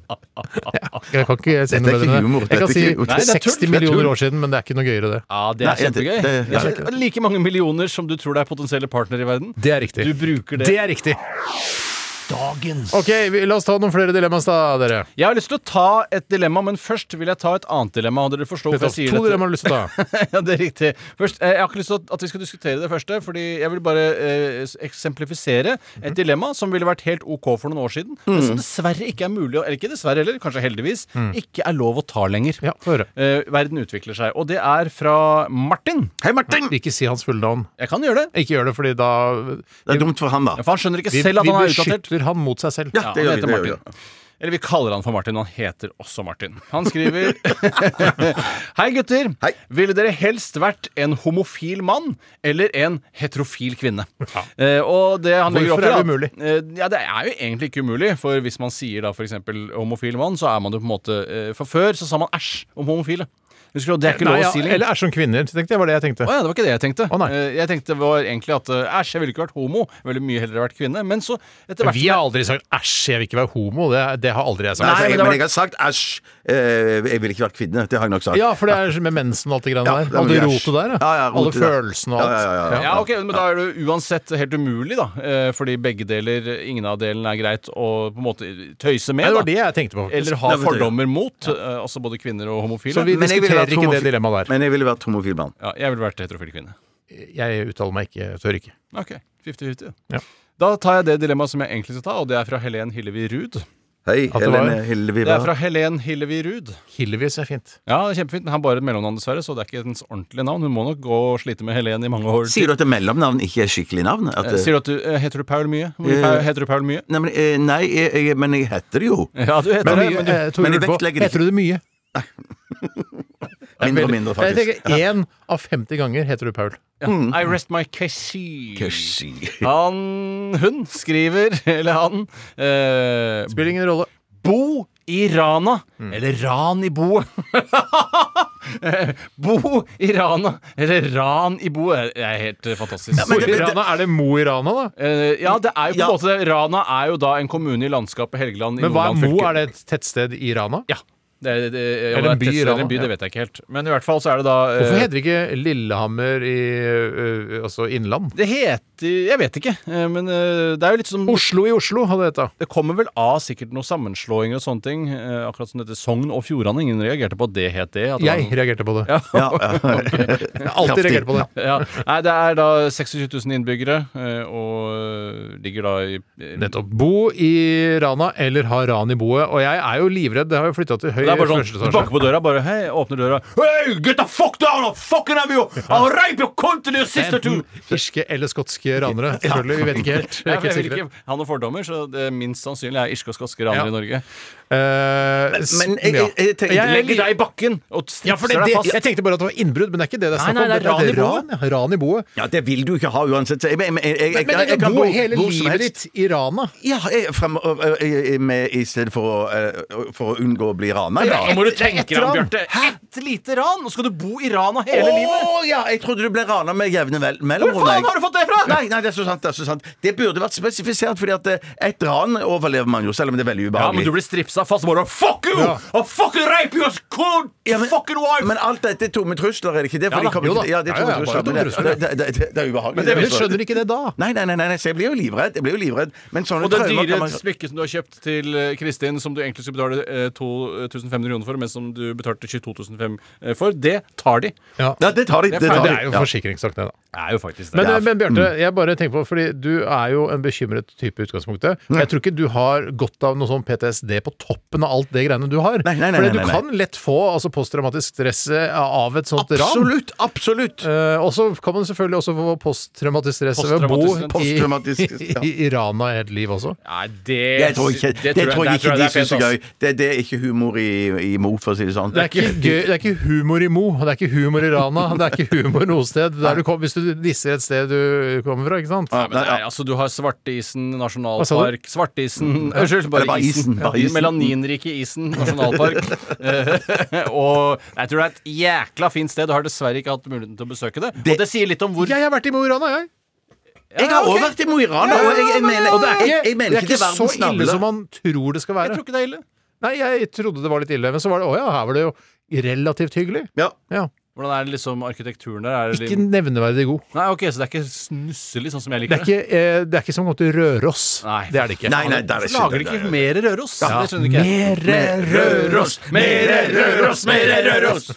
Jeg kan ikke si Dette noe bedre er ikke enn det. humor, Jeg dette er kan si ikke- Nei, det er tull. 60 Det er millioner tull. år siden, men det er ikke noe gøyere, det. Ja, det er Nei, det- kjempegøy. det- ja. Det er Like mange millioner som du tror det er potensielle partnere i verden. Det er riktig. Du bruker det. Det er riktig. Ok, vi, La oss ta noen flere dilemmaer, da, dere. Jeg har lyst til å ta et dilemma, men først vil jeg ta et annet dilemma. Og dere forstår Vet du, hvorfor jeg sier to dette. dilemmaer har du lyst til [LAUGHS] å ja, det er riktig. Først, eh, jeg har ikke lyst til at- at vi skal diskutere det første, fordi jeg vil bare eh, s- eksemplifisere Mhm. et dilemma som ville vært helt OK for noen år siden, men som Mm. dessverre ikke er mulig, å- eller ikke dessverre heller, kanskje heldigvis, Mm. ikke er lov å ta lenger. Mhm. Ja, få høre. Eh, verden utvikler seg. Og det er fra Martin. Hei, Martin! Ikke si hans fulle navn. Jeg kan gjøre det. Ikke gjør det, fordi da Det er dumt for han, da. Ja, for han skjønner ikke Eh, Vi- selv at vi han er beskytter utdatert. han mot seg selv. Ja, han det gjør vi, heter det gjør Martin. Eller vi kaller han for Martin, og han heter også Martin. Han [LAUGHS] skriver Hei, gutter. Ville dere helst vært en homofil mann eller en heterofil kvinne? Eh, og det han legger Hvorfor opp til, er det da- umulig? Eh, ja, det er jo egentlig ikke umulig, for hvis man sier da f.eks. homofil mann, så er man jo på en måte eh, For før så sa man æsj om homofile. Husker du, det er ikke Nei, lov ja, å si lenger. eller er som kvinner. tenkte jeg var det jeg tenkte. Å ja, det var ikke det jeg tenkte. Eh, Jeg tenkte var egentlig at eh, æsj, jeg ville ikke vært homo. Jeg ville mye heller vært kvinne. Men så etter hvert Vi har aldri sagt 'æsj, jeg vil ikke være homo'. Det, det har aldri jeg sagt. Nei, men, jeg har sagt æsj. eh, jeg vil ikke vært kvinne. Det har jeg nok sagt. Ja, for det er med mensen og alt det greiene Ja, det der. er All det mye rotet der. ja. Ja, ja, Alle rotet der. følelsene og alt. Ja, ja, ja, ja. Ja, ok, men Da er det jo uansett helt umulig, da. eh, Fordi begge deler, ingen av delene er greit å på en måte tøyse med. Nei, det var da. det jeg tenkte på, faktisk. Eller ha Det var det. fordommer mot. eh, Altså både kvinner og homofile. Men jeg ville vært homofil- Men jeg ville vært homofil mann. Ja, jeg ville vært heterofil kvinne. Jeg uttaler meg ikke, jeg tør ikke. Ok, 50-50. Ja. Da tar jeg det dilemmaet som jeg egentlig skal ta, og det er fra Helen Hillevi Ruud. Hei, At det var- Helene Hillevi Det er hva? fra Helen Hillevi Ruud. Hillevis er fint. Ja, det er kjempefint. Den har bare et mellomnavn, dessverre, så det er ikke dens ordentlige navn. Hun må nok gå og slite med Helen i mange år. Sier du at det mellomnavn ikke er skikkelig navn? At, Eh, Sier du at du eh, Heter du Paul mye? Hvor mye Eh, Paul- Heter du Paul mye? Nei, men, eh, nei jeg, jeg, men jeg heter det jo. Ja, du heter det, men du- Eh, Tore men jeg Ulvå, vektlegger det Heter du det mye? [LAUGHS] Mindre og mindre, faktisk. Jeg tenker Én av 50 ganger heter du Paul. Ja. I rest my case. Case. Han Hun skriver, [LAUGHS] eller han Spiller ingen rolle. Bo i Rana. Mm. Eller ran i boet. [LAUGHS] Eh, bo i Rana. Eller ran i boet. Det er helt eh, fantastisk. Eh, Mo i Rana, Er det Mo i Rana, da? ja, det er jo på en måte det. Rana er jo da en kommune i landskapet Helgeland i Men hva er Nordland Mo? fylke. Er det et tettsted i Rana? Ja. Det er, det, ja, Eller en det er by i tettsted eller Rana, en by, ja. det vet jeg ikke helt. Men i hvert fall så er det da eh, Hvorfor heter det ikke Lillehammer i eh, altså Innland? Det heter 90 Jeg vet ikke. eh, Men eh, det er jo litt som Oslo i Oslo hadde heta. Det kommer vel av sikkert noen sammenslåinger og sånne ting. eh, Akkurat som dette Sogn og Fjordane. Ingen reagerte på at det het det. At det [LAUGHS] Jeg var- reagerte på det. Ja. Jeg har alltid reagert på det. Ja. Nei, det er da 26 000 innbyggere, eh, og eh, ligger da i Nettopp. Bo i Rana, eller ha ran i boet. Og jeg er jo livredd. Det har jo flytta til høy Det er bare sånn, første Du banker på døra, bare hei, åpner døra Hey, get the fuck down! I'm fucking have you! I'll rape your cunt in your sister too! Enten Irske eller skotske ranere. Selvfølgelig, vi vet ikke helt. Vi Ja, er for jeg ikke helt vil sikre. ikke ha noen fordommer, så det minst sannsynlig er irske og skotske ranere Ja. i Norge. Eh, men jeg- jeg- jeg tenkte- jeg legger deg i bakken og stripser Ja, for det, deg det, fast. jeg tenkte bare at det var innbrudd, men det er ikke det det er Nei, snakk nei, om. det er ran i boet. ran, ja, ran i boet. Ja, det vil du ikke ha uansett. Så jeg, jeg, jeg, jeg, jeg, Men, men jeg, du kan bor hele hvor som livet helst. ditt i Rana. Ja, jeg, frem, og- og- jeg, jeg, med, i stedet for å, eh, for å unngå å bli rana. Ja, nå må du tenke deg om, Bjarte. Hæ? Et lite ran! Nå skal du bo i Rana Å hele livet! ja, jeg trodde du ble rana med jevne vel- mellomrom. Hvor faen jeg. har du fått det fra? Nei, nei, det er så sant. Det er så sant Det burde vært spesifisert, Fordi at eh, et ran overlever man jo, selv om det er veldig Ja, men ubehagelig. du blir stripsa fast. Bare fuck you! Ja. I'll fucking rape you! Cold fucking [LAUGHS] wife! Men alt dette er tomme trusler, er det ikke det? Ja For de da, kommer jo ikke- da. ja, det er Ja, tomme ja, bare trusler, men tomme det- trusler. det, det, det, det er ubehagelig. Men det- Det er- skjønner ikke det da. Nei, nei, nei, nei, nei, så jeg blir jo livredd. Jeg blir jo livredd. Men sånne Og det traumer dyre kan man- smykket som du har kjøpt til eh, Kristin, som du egentlig skulle betale eh, 2500 kroner for, men som du betalte 22500 eh, for, det tar de. Ja, det tar de. Det er ferdig. Det, tar de. Det er jo Ja. forsikringssak, det, da. Det er jo faktisk det. Men, eh, eh, men Bjarte, Mm. jeg bare tenker på, fordi du er jo en bekymret type i utgangspunktet. Mm. Jeg tror ikke du har godt av noe sånn PTSD på toppen av alt det greiene du har. nei, fordi nei, nei, nei, du nei. kan lett få altså, posttraumatisk stress eh, av et sånt ran. Absolutt! Absolutt! Eh, og så kan man selvfølgelig også få posttraumatisk stress ved å bo Posttraumatisk- i, Posttraumatisk, ja. [LAUGHS] i, i Rana i et liv også. Nei, det Jeg tror ikke, det tror jeg der ikke det de er fett, syns er ass. gøy. Det, det er ikke humor i, i Mo, for å si det sånn. Det er, ikke gøy, det er ikke humor i Mo, det er ikke humor i Rana, det er ikke humor noe sted. Der du kom, hvis du disser et sted du kommer fra, ikke sant? Ja, Men ja. nei, altså, du har Svarteisen Hva sa du? Mm. nasjonalpark Svarteisen [LAUGHS] Unnskyld, bare, Eller bare isen. isen, bare Ja, isen. Melaninrike isen [LAUGHS] nasjonalpark. Eh, [LAUGHS] og jeg tror det er et jækla fint sted. Du har dessverre ikke hatt muligheten til å besøke det. Og det sier litt om hvor Jeg har vært i Mo i Rana, jeg. Jeg har også vært i Mo i Rana, og jeg, jeg mener, Og det er ikke, jeg, jeg mener det er ikke det ikke er så verdens ille som navle. man tror det skal Jeg være. tror ikke det er ille. Nei, jeg trodde det var litt ille, men så var det å ja, her var det jo relativt hyggelig. Ja. Ja. Hvordan er det liksom arkitekturen der? Er det Ikke litt- nevneverdig god. Nei, ok, Så det er ikke snusselig, sånn som jeg Det liker er ikke, eh, det er ikke som å gå til Røros. Nei. Det er det ikke. Nei, nei, der er Hvorfor lager de det ikke mer Røros? Det skjønner ikke jeg. Mere Røros, mere Røros, mere Røros!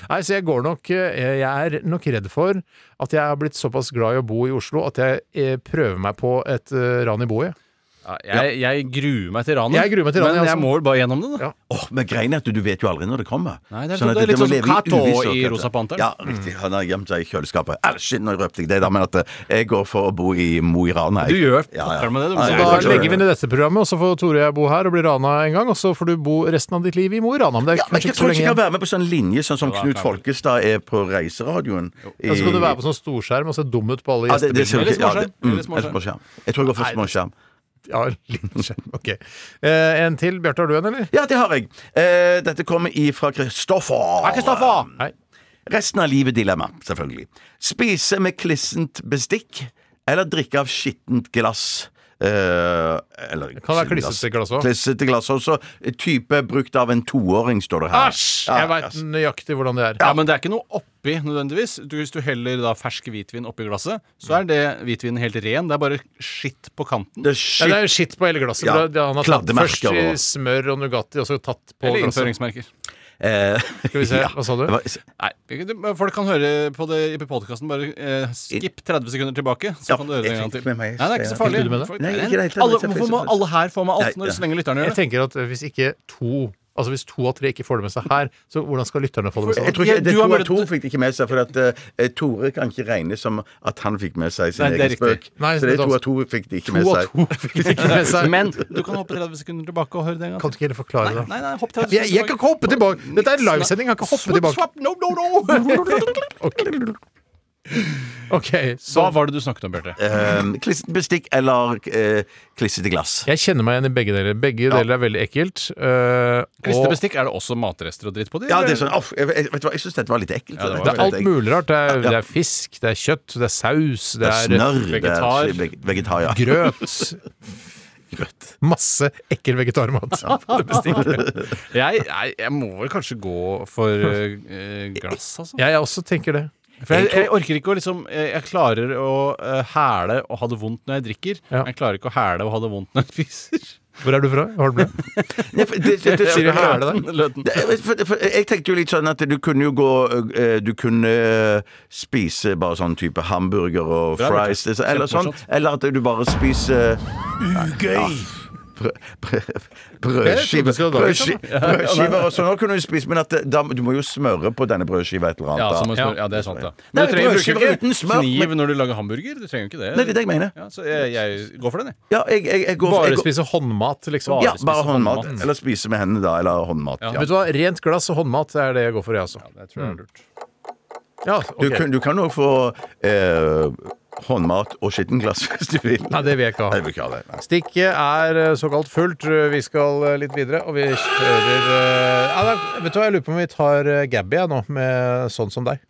[LAUGHS] Nei, så jeg går nok eh, Jeg er nok redd for at jeg har blitt såpass glad i å bo i Oslo at jeg eh, prøver meg på et eh, ran i boet. Ja, jeg, jeg gruer meg til ranet. Jeg gruer meg til ranet, men jeg jeg også. må vel bare gjennom det, da. Ja. Åh, men greien er at du vet jo aldri når det kommer. Nei, det er- at det er litt må sånn som leve Kato uvisshet, i kanskje. Rosa Panteren. Ja, riktig. Han har gjemt seg i kjøleskapet. Eller shit, nå røpte jeg det, da, men at eh, jeg går for å bo i Mo i Rana. jeg. Du gjør Ja, ja. pokker med det, du. Ja, Så Da jeg kan da ikke- legger vi ned dette programmet, og så får Tore og jeg bo her og bli rana en gang. Og så får du bo resten av ditt liv i Mo i Rana. Men det er Ja, men kanskje jeg ikke så tror ikke lenge jeg kan igjen. være med på sånn linje, sånn som Jo, da, Knut kan du. Folkestad er på reiseradioen. Ja, så kan du være på sånn storskjerm og se dum ut på alle ja, det, det, ser jo gjestebildene. Eller småskjerm. ikke- ja, det, mm, Eller småskjerm. eller småskjerm. Jeg tror jeg går for småskjerm. Ja, liten skjerm. Ok. Eh, en til. Bjarte, har du en, eller? Ja, det har jeg. Eh, dette kommer ifra Kristoffer. Hei. Resten av livet dilemma, selvfølgelig. Spise med klissent bestikk, eller drikke av skittent glass. Eh, eller kan være klissete glass også. Klissete glass også. Type brukt av en toåring, står det her. Æsj! Ja, Jeg veit nøyaktig hvordan det er. Ja, men det er ikke noe oppi nødvendigvis. Du, hvis du heller da fersk hvitvin oppi glasset, så er det hvitvinen helt ren. Det er bare skitt på kanten. Det er Ja, shit. det er jo skitt på hele glasset. Ja, for det- Han har tatt først kladdemerker i og- smør og Nugatti, og så tatt på Eller glasset. innføringsmerker. Eh, Skal vi se, hva sa du? Nei, det- Folk kan høre på det i podkasten. Bare eh, skip 30 sekunder tilbake, så Ja, kan du høre jeg det en gang til. fikk med meg- Nei, det er ikke så Fikk farlig. du med det? Folk- Nei, ikke i det hele tatt. alle, Jeg hvorfor fikk må det. alle her få med alt, Nei, når, ja. så lenge lytterne Jeg gjør det? tenker at hvis ikke to Altså hvis to av tre ikke får det med seg her, så hvordan skal lytterne få det med seg? Jeg da? tror ikke, det, Du har to av bare- to fikk det ikke med seg, for at, eh, Tore kan ikke regne som at han fikk med seg sin Nei, det er egen riktig. spøk. Nei, Så det det er to av to fikk det ikke med To av seg. to fikk det ikke [LAUGHS] med seg. Men du kan hoppe 30 sekunder tilbake og høre det en gang Kan du ikke heller forklare det? Nei, nei, hopp 30 Jeg, jeg kan ikke hoppe tilbake! Dette er en livesending, jeg kan ikke hoppe tilbake. Swap, swap, no, [LAUGHS] no, no. Ok, så Hva var det du snakket om, Bjarte? Eh, klissent bestikk eller eh, klissete glass. Jeg kjenner meg igjen i begge deler. Begge deler er veldig ekkelt. øh, og Klistrebestikk, er det også matrester og dritt på de? Ja, det er eller? sånn, aff, jeg, jeg, vet du hva, jeg syns dette var litt ekkelt. Ja, det var det er alt mulig rart. Det er, Ja. det er fisk, det er kjøtt, det er saus, det Det er er eh, snørr. vegetar. Det er veg- vegetar, ja. grøt. Masse ekkel vegetarmat. [LAUGHS] Jeg, jeg, jeg må vel kanskje gå for eh, glass, altså. Jeg også tenker det. For jeg, jeg orker ikke å liksom Jeg jeg klarer å eh, hæle og ha det vondt når jeg drikker. Jeg klarer ikke å hæle og ha det vondt når jeg spiser. Hvor er du fra? Har du [LAUGHS] Sier Løten, hæle, da? Løten. Det- jeg- for- for- Jeg tenkte jo litt sånn at du kunne jo gå eh, Du kunne eh, spise bare sånn type hamburger og Bra, Bjarte. fries det- eller sånn. Kjempemorsomt. Eller at du bare spiser eh, Ugøy! Ja. Brø- brø- Jeg trodde Brødskiver du skulle ha dagens, brødski- da. [LAUGHS] Ja, ja, brødskiver og sånn også kunne du spise, men at det- da, du må jo smøre på denne brødskiva et eller annet. Ja, da. så må du smøre- ja, det er sant, da. Nei, Men du trenger bruker brødskiver jo uten smør, ikke kniv men- når du lager hamburger. Du trenger jo ikke det. Nei, det er det jeg mener. Ja, så jeg, jeg går for den, jeg. Ja, jeg, jeg, jeg går for- jeg går- håndmat, liksom. Ja, bare håndmat. Eller spise med hendene, da. Eller håndmat. Ja. Vet du hva, Rent glass og håndmat er det jeg går for, jeg også. Ja, det Mm. tror jeg er lurt. Ja, ok. Du, kan- du kan òg få eh, håndmat og skittenglass [LAUGHS] hvis du vil. Nei, det vil jeg ikke ha. Nei, du vil ikke ha det. Nei. Stikket er eh, såkalt fullt. Vi skal eh, litt videre, og vi kjører eh, ja, da, Vet du hva, jeg lurer på om vi tar eh, Gabby jeg, nå, med Sånn som deg.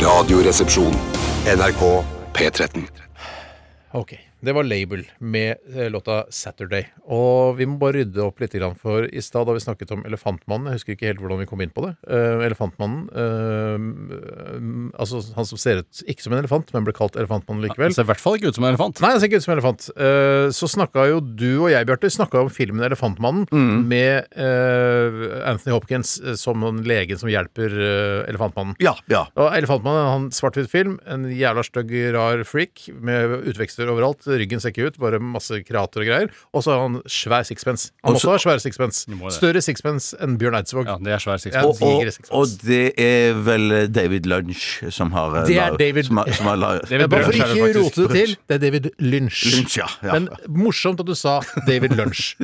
Radioresepsjon. NRK P13. Ok, Det var Label med eh, låta 'Saturday'. Og vi må bare rydde opp litt, grann, for i stad da vi snakket om Elefantmannen Jeg husker ikke helt hvordan vi kom inn på det. Eh, elefantmannen eh, Altså han som ser ut ikke som en elefant, men ble kalt Elefantmannen likevel. Han ser i hvert fall ikke ut som en elefant. Nei, han ser ikke ut som en elefant. Eh, så snakka jo du og jeg, Bjarte, snakka om filmen 'Elefantmannen' Mm. med eh, Anthony Hopkins eh, som den legen som hjelper eh, Elefantmannen. Ja, ja. Og Elefantmannen han svart-hvitt film. En jævla stygg, rar freak med utvekster overalt. Ryggen ser ikke ut, bare masse krater og greier. Og så har han svær sixpence. Han Og så- måtte ha svær sixpence. det. Større sixpence enn Bjørn Eidsvåg. Ja, det er svær Ja, Og, og, diger sixpence. og det er vel David Lunch som har eh, Det er lag- David- som har, som har lag- Men bare for ikke å rote det til, det er David Lynch. Lynch, ja, ja. Men morsomt at du sa David [LAUGHS] Lunch.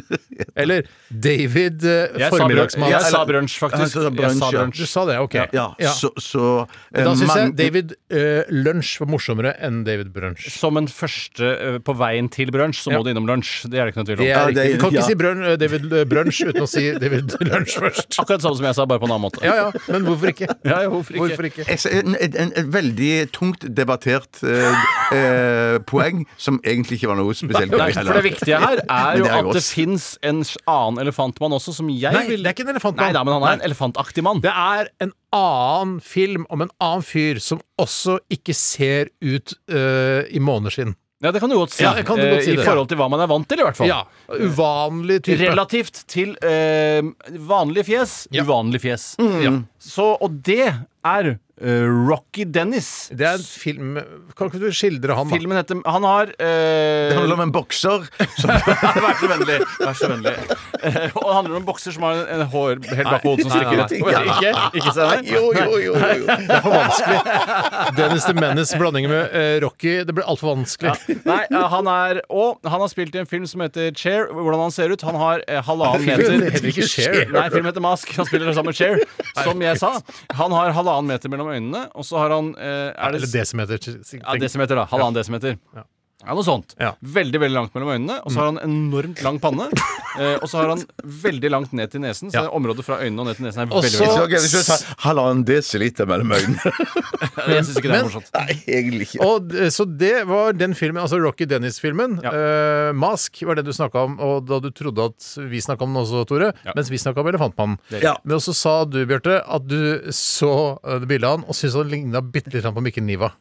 Eller David eh, Jeg sa brunch. Formiddagsmann. Jeg sa brunch, faktisk. Ja, du Jeg sa ja. brunch. Du sa det, ok. Ja, så, så Men eh, Da syns jeg mange- David eh, Lunch var morsommere enn David Brunch. Som en første eh, på veien til brunsj, så må Ja. du innom lunsj. Det er det ikke noe tvil om. Det er det er- riktig. Du kan ikke ja. si brun, eh, David eh, Brunch uten å si David [LAUGHS] Lunch først. Akkurat samme som jeg sa, bare på en annen måte. Ja ja, men hvorfor ikke? Ja, ja, hvorfor ikke? Hvorfor ikke? Jeg ser en, en, en, en veldig tungt debattert eh, eh, poeng, som egentlig ikke var noe spesielt Nei, for det viktige her er Men jo det er at godt. det fins en annen elefantmann også, som jeg Nei, vil det er ikke en Nei elefantmann. da, men han er en elefantaktig mann. Det er en annen film om en annen fyr som også ikke ser ut eh, i måneskinn. Ja, det kan du godt si. Ja, jeg kan du godt si Eh, I det. forhold til hva man er vant til, i hvert fall. Ja, uvanlig type. Relativt til eh, vanlige fjes, Ja. uvanlige fjes. Så, og det er eh, Rocky Dennis. Det er en film Kan ikke du skildre han, da? Filmen heter Han har eh, Det handler om en bokser. Som, Vær så vennlig. Vær så vennlig. Eh, og det handler om en bokser som har en, en hår helt bak hodet som stikker ut. Ikke, ikke se det? jo, jo, jo, jo. Det er for vanskelig. Dennis the Menace, blandingen med eh, Rocky, det ble altfor vanskelig. Nei, eh, han er Og han har spilt i en film som heter Chair. Hvordan han ser ut. Han har eh, halvannen Filmen meter heter ikke Cher. Nei, filmen heter Mask. Han spiller sammen med Cher, som jeg sa. Han har halvannen meter mellom øynene, og så har han eh, er Eller det, desimeter. ja, Desimeter, da. Halvannen desimeter. Ja, noe sånt. Ja. Veldig veldig langt mellom øynene. Og så har han enormt lang panne. eh, og så har han veldig langt ned til nesen. Så Ja. området fra øynene og ned til nesen er Og veldig, så- veldig Så, okay, hvis du tar halvannen desiliter mellom øynene langt. Jeg syns ikke det Men- er morsomt. [LAUGHS] Nei, egentlig ikke. Og, d- så det var den filmen, altså Rocky Dennis-filmen. Eh, Mask var det du snakka om, og da du trodde at vi snakka om den også, Tore. Mens vi snakka om Elefantmannen. Ja. Men også sa du, Bjarte, at du så eh, det bildet av han og syntes han ligna bitte litt på Mikkel Niva.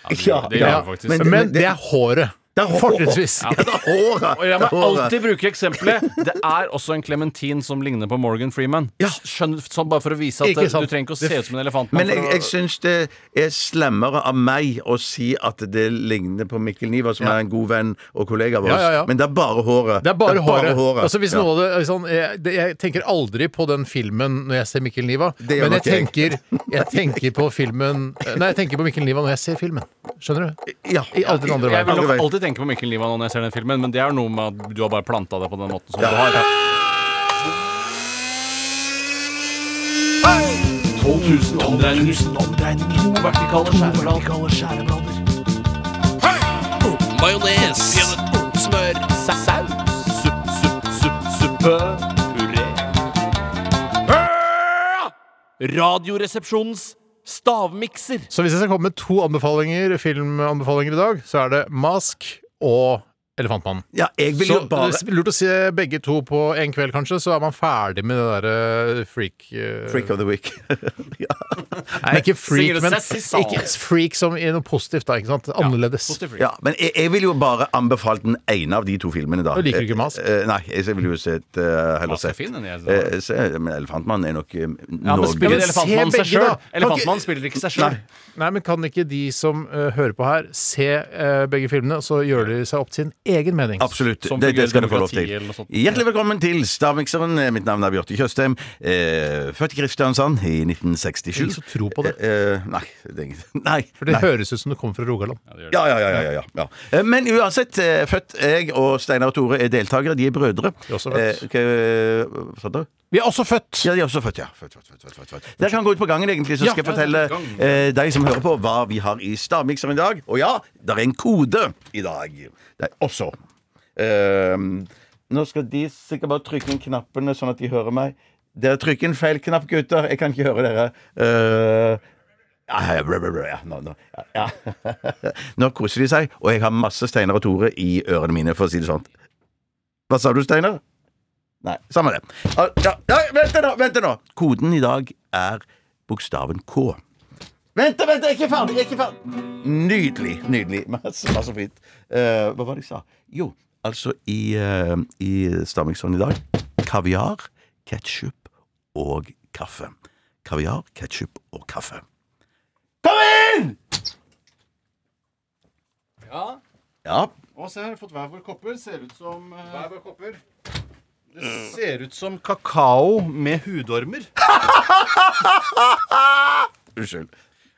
Ja, det gjør ja. det faktisk. Men, Men, men, det er håret. Det er hår- Fortrinnsvis. det er håret! Og [LAUGHS] jeg det er må håret. alltid bruke eksempelet. Det er også en klementin som ligner på Morgan Freeman. Skjønn, sånn bare for å vise at Ikke det, sant. du trenger ikke å Det- se ut som en elefantmann. Men jeg, jeg syns det er slemmere av meg å si at det ligner på Mikkel Niva, som er en god venn og kollega av oss. Ja, ja, ja. Men det er bare håret. Det er bare håret. håret. Altså hvis Ja. noe av det, hvis han- jeg, det, jeg tenker aldri på den filmen når jeg ser Mikkel Niva, Det men jeg gjør nok jeg. tenker, jeg tenker på filmen eh, Nei, jeg tenker på Mikkel Niva når jeg ser filmen. Skjønner du? Ja. I alle den andre jeg veien. vil nok Andre vei. alltid tenke på Mikkel Niva når jeg ser den filmen, men det er noe med at du har bare planta det på den måten som du har. 12 000 omdreininger. To vertikale skjæreblader. Majones. Smør. Saus. Supp, supp, supp, suppe. Puré. Radioresepsjonens stavmikser. Så hvis jeg skal komme med to anbefalinger filmanbefalinger i dag, så er det Mask og Elefantmannen. Ja, jeg vil så jo bare- det er Lurt å se begge to på en kveld, kanskje, så er man ferdig med det derre freak... eh, Freak of the week. [LAUGHS] Nei, ikke freak, Sier det men seg, sier det. ikke freak som i noe positivt, da. ikke sant? Annerledes. Ja, men jeg, jeg vil jo bare anbefale den ene av de to filmene, da. Og liker du ikke Mask? Eh, eh, nei, jeg jeg vil jo se et, eh, heller Mask er sett fin, den jeg- Eh, se, Men Elefantmannen er nok eh, Ja, men Norges- spiller Ja, men se Elefantmannen seg begge, sjøl? da. Elefantmannen spiller ikke seg sjøl. Nei, men kan ikke de som eh, hører på her, se eh, begge filmene, og så gjør de seg opp til en egen mening? Absolutt. Det, det skal du få lov til. Hjertelig velkommen til Stavmikseren. Eh, Mitt navn er Bjarte Tjøstheim. Eh, født i Kristiansand i 1967. Ingen som tror på det. Eh, nei, det er ingen [LAUGHS] Nei. For det nei. høres ut som du kommer fra Rogaland. Ja, ja, ja, ja, ja, ja. Eh, Men uansett, eh, født jeg og Steinar og Tore er deltakere. De er brødre. Vi er også født. Hva sa du? Vi er også født! Ja, de er også født, ja. Født, født, født, født, født, født. Dere kan gå ut på gangen, egentlig, så Ja, skal ja, jeg fortelle gang. eh, deg som hører på, hva vi har i stavmikseren i dag. Og ja, det er en kode i dag. Det er også. Ehm, nå skal de sikkert bare trykke inn knappene, sånn at de hører meg. Dere trykker en feil knapp, gutter. Jeg kan ikke høre dere. Eh, ja, ja, brr, brr, brr, ja, nå, nå, ja, ja. [LAUGHS] nå koser de seg, og jeg har masse Steinar og Tore i ørene mine, for å si det sånn. Hva sa du, Steinar? Nei, samme det. Ah, Ja, nei, vent nå, vent nå! Koden i dag er bokstaven K. Vent, da, vent, jeg er ikke ferdig! Jeg er ikke ferdig. Nydelig. Nydelig. [LAUGHS] Masse, masse fint. Eh, hva var det jeg sa? Jo, altså i, uh, i Stammingsson i dag kaviar, ketsjup og kaffe. Kaviar, ketsjup og kaffe. Kom inn! Ja. Ja. Og se her, fått hver vår kopper. Ser ut som eh, Hver vår kopper. Det ser ut som kakao med hudormer. Unnskyld.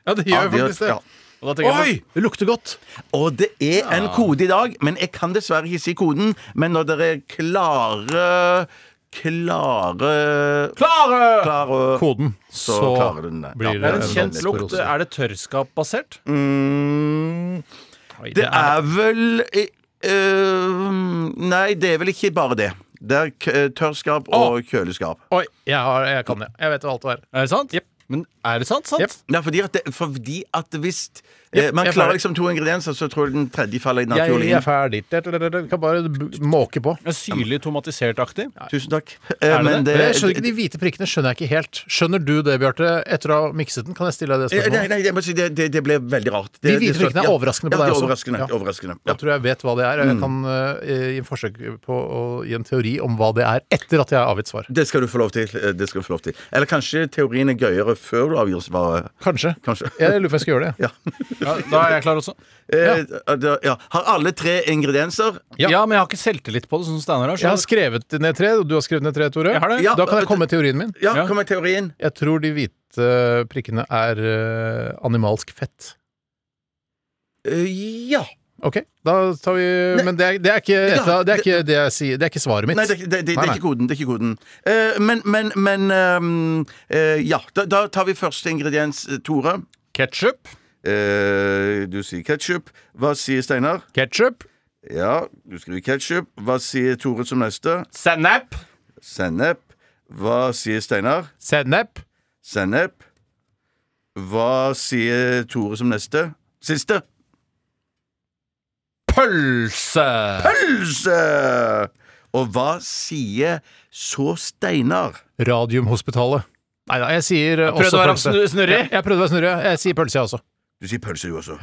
Ja, det gjør gjør- faktisk det. ja. Og da tenker jeg Det lukter godt. Og det er en kode i dag, men jeg kan dessverre ikke si koden. Men når dere er klare Klare Klare! klare- Koden. Så, Så klarer du den. blir Det er en kjent lukt. Er det tørrskapbasert? Mm, det er vel eh, eh, Nei, det er vel ikke bare det. Det er k- eh, tørrskap og kjøleskap. Oi, jeg, har, jeg kan det. Jeg vet hva alt det er. Er det sant? Men er det sant? sant? Ja, fordi at, det, fordi at hvis eh, Jep, man jeg er klarer ferdig. liksom to ingredienser, så tror jeg den tredje faller Jeg naturlig er inn. ferdig. Du kan bare b- måke på. Er Syrlig tomatisert-aktig? Tusen takk. Eh, Er det det? Men jeg skjønner ikke De hvite prikkene skjønner jeg ikke helt. Skjønner du det, Bjarte, etter å ha mikset den? Kan jeg stille deg det Eh, Nei, spørsmålet? nei, jeg må si det, det, det ble veldig rart. De Det, hvite det- prikkene er ja. overraskende på ja, deg det er også. Overraskende, Ja. overraskende. Ja. Jeg tror jeg vet hva det er. og Jeg kan eh, gi en forsøk på å gi en teori om hva det er, etter at jeg har avgitt svar. Det skal du få lov til. eh, Det skal du få lov til. Eller kanskje teorien er gøyere før du avgjør svaret. Kanskje. Kanskje. Jeg lurer på om jeg skal gjøre det. [LAUGHS] Ja. Ja, da er jeg klar også. Eh, da- ja. Har alle tre ingredienser? Ja. men jeg har ikke selvtillit på det, sånn som Steinar har. Jeg har skjønner skrevet ned tre, og du har skrevet ned tre, Tore. Jeg har det. Ja. Da kan jeg komme med teorien min. Ja, Ja. kom med teorien. Jeg tror de hvite prikkene er eh, animalsk fett. Eh, ja. Ok, da tar vi Men det er, det er, ikke, et Ja, av- det er ikke det jeg sier. Det er ikke svaret mitt. Nei, det, er ikke- det, det, det Nei, er nei. ikke koden. Det er ikke koden. Eh, men, men, men ehm, eh, Ja. Da, da tar vi første ingrediens, eh, Tore. Ketchup. Eh, du sier ketsjup. Hva sier Steinar? Ketchup. Ja, du skriver ketsjup. Hva sier Tore som neste? Sennep. Sennep. Hva sier Steinar? Sennep. Sennep. Hva sier Tore som neste? Siste. Pølse. Pølse! Og hva sier så Steinar? Radiumhospitalet. Nei da, jeg sier eh, prøvde også å være pølse. snu- snurrig. Jeg, jeg prøvde å være snurrig. Jeg sier pølse, jeg også. Du sier pølse, du også.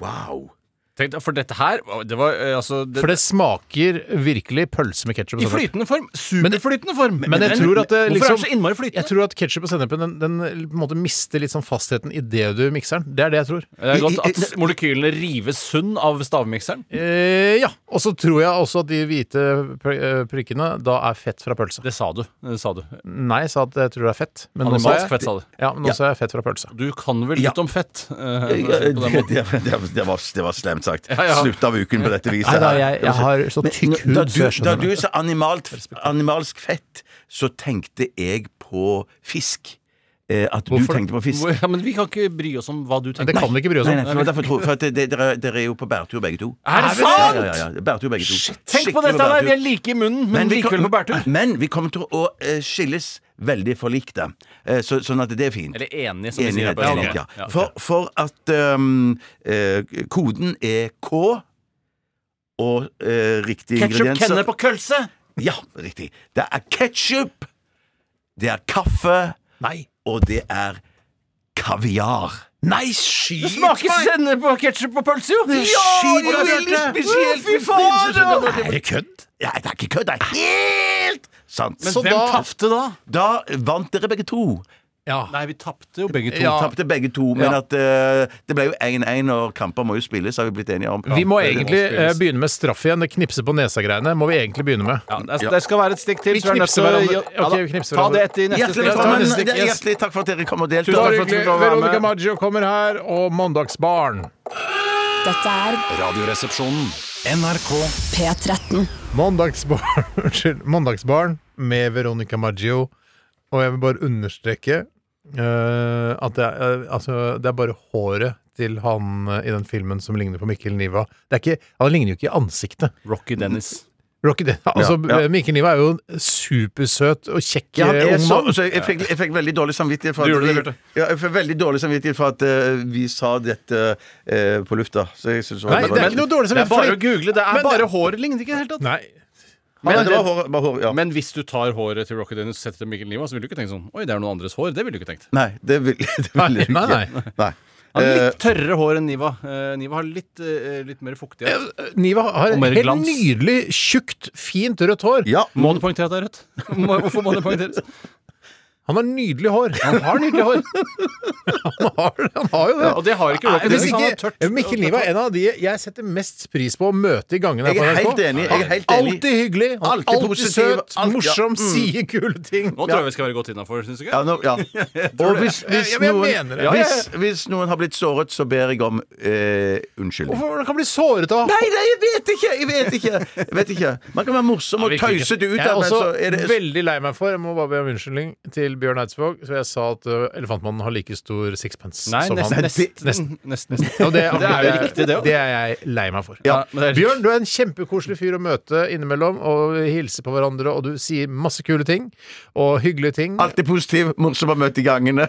Wow. Tenk deg, For dette her det var, eh, altså, det, For det smaker virkelig pølse med ketsjup. I flytende form. Superflytende form. Men jeg tror at det Hvorfor liksom er det så innmari Jeg flytende? tror at ketsjup og sennepen den, den på en måte mister litt sånn fastheten idet du mikser den. Det er det jeg tror. Det er godt at molekylene rives sund av stavmikseren. Eh, ja. Og så tror jeg også at de hvite pr eh, prikkene da er fett fra pølse. Det sa du. Det sa du. Nei, jeg sa at jeg tror det er fett. Men nå sa Animalsk jeg, fett, sa du. ja, men nå sa jeg fett fra pølse. Du kan vel litt Ja. om fett? eh, Ja, på det, den måten. det, det, det, var, det var slemt sagt. Ja, ja. Slutt av uken på dette Nei viset. da, her. jeg, jeg har så tykk hud, da, så jeg du, da skjønner du det. sa animalt, animalsk fett, så tenkte jeg på fisk. Eh, at Hvorfor du tenkte på fisk. Hvor- Ja, men vi kan ikke bry oss om hva du Det tenker. kan vi ikke bry oss Nei, om. nei, det var derfor jeg tror- for at det- det- dere, dere er jo på bærtur, begge to. Er det Ja, sant?! Ja, ja, ja. Bærtur, begge to. Tenk Skikkelig på dette, der, bærtur. vi er like i munnen, men, vi likevel kom- på bærtur. Men vi kommer til å eh, skilles veldig forlikte. Eh, så, sånn at det er fint. Eller enig, som vi sier. her Enighet. på enighet ja. Ja, ok. For, for at ehm, eh, koden er K, og eh, riktige Ketchup ingredienser. kenner på kølse! Ja, riktig. Det er ketsjup, det er kaffe, og det er kaviar. Nei, skyt Det smaker sennep og ketsjup på pølse, jo! skyt meg, Bjarte. Å, Fy Nei, fader! Er det kødd? Nei, det er ikke kødd. Det er helt sant. Men hvem tapte da? Da vant dere begge to. Nei, vi tapte jo begge to. Ja. Tapte begge to, men Ja. at eh, det ble jo 1-1, og kamper må jo spilles, har vi blitt enige om. Vi må Ja. egentlig eh, begynne med straff igjen. Det knipse på nesa-greiene må vi egentlig begynne med. Det det skal være et stikk til. Vi så er det knipser neste- hverandre. Ja, Ok, da. vi knipser Ta det hverandre. etter i neste Hjertelig stikk. velkommen. Ta neste stikk, yes. Hjertelig takk for at dere kom og deltok. Tusen takk, Takk for at hyggelig. dere var med. Veronica Maggio kommer her, og Mandagsbarn. Dette er Radioresepsjonen. NRK. P13. Mandagsbarn, [LAUGHS] unnskyld, Mandagsbarn med Veronica Maggio. Og jeg vil bare understreke eh, at det er, eh, altså, det er bare håret til han eh, i den filmen som ligner på Mikkel Niva. Det er ikke, han ligner jo ikke i ansiktet. Rocky Dennis. Rocky, det, altså, Ja, ja. eh, Mikkel Niva er jo en supersøt og kjekk Ja, han eh, er ung så, mann. så jeg, fikk, jeg fikk veldig dårlig samvittighet for Du at, gjorde det, vi, Bjarte. ja, jeg fikk veldig dårlig samvittighet for at eh, vi sa dette eh, på lufta. Så jeg synes det var- Nei, det er ikke noe dårlig som Det er bare å google. Det Men- er bare håret ligner ikke i det hele tatt. Nei. [LAUGHS] Men, Men det var hår, bare hår, ja. Men hvis du tar håret til Rocky Dennis og setter det til Mikkel Niva, så ville du ikke tenkt sånn Oi, det er noen andres hår. Det ville du ikke tenkt. Nei, det vil, [LAUGHS] det Nei, vil jeg ikke. nei, Nei. Han har Eh, litt tørrere hår enn Niva. Eh, Niva har litt, eh, litt mer fuktighet. Niva har Og mer helt glans. nydelig, tjukt, fint rødt hår. Eh, ja. Må det poengtere at det er rødt? [LAUGHS] Må- Hvorfor må det poengteres? Han har nydelig hår. Han har nydelig hår. [LAUGHS] han, har, jo det. Ja, og det har ikke Rocky Nei, hvis Dennis. Han har ikke, tørt. Mikkel Niva er en av de jeg setter mest pris på å møte i gangene her Jeg på er NRK. helt enig, jeg er helt enig. Alltid hyggelig, han er Alltid alltid, positiv, søt, alt- ja, morsom, mm. sier kule ting. Nå tror jeg vi skal være godt innafor, syns du ikke? Ja, nå, [LAUGHS] ja. Og hvis, hvis, Ja, men jeg noen, mener det. Ja, ja, ja. hvis, hvis noen har blitt såret, så ber jeg om eh, unnskyldning. Hvorfor kan bli såret av Nei, nei, jeg vet ikke! Jeg vet ikke. Jeg vet ikke. Man kan være morsom og tøysete ut Jeg er av men også så er det veldig lei meg for Jeg må bare be om unnskyldning til Bjørn Eidsvåg. Så jeg sa at ø, Elefantmannen har like stor sixpence Nei, som nesten. han. Nesten. Nesten. nesten. nesten. Ja, det, Det er jo riktig, det òg. Det er jeg lei meg for. Bjørn, du er en kjempekoselig fyr å møte innimellom, og vi hilser på hverandre, og du sier masse kule ting, og hyggelige ting. alltid positiv, morsom å møte i gangene.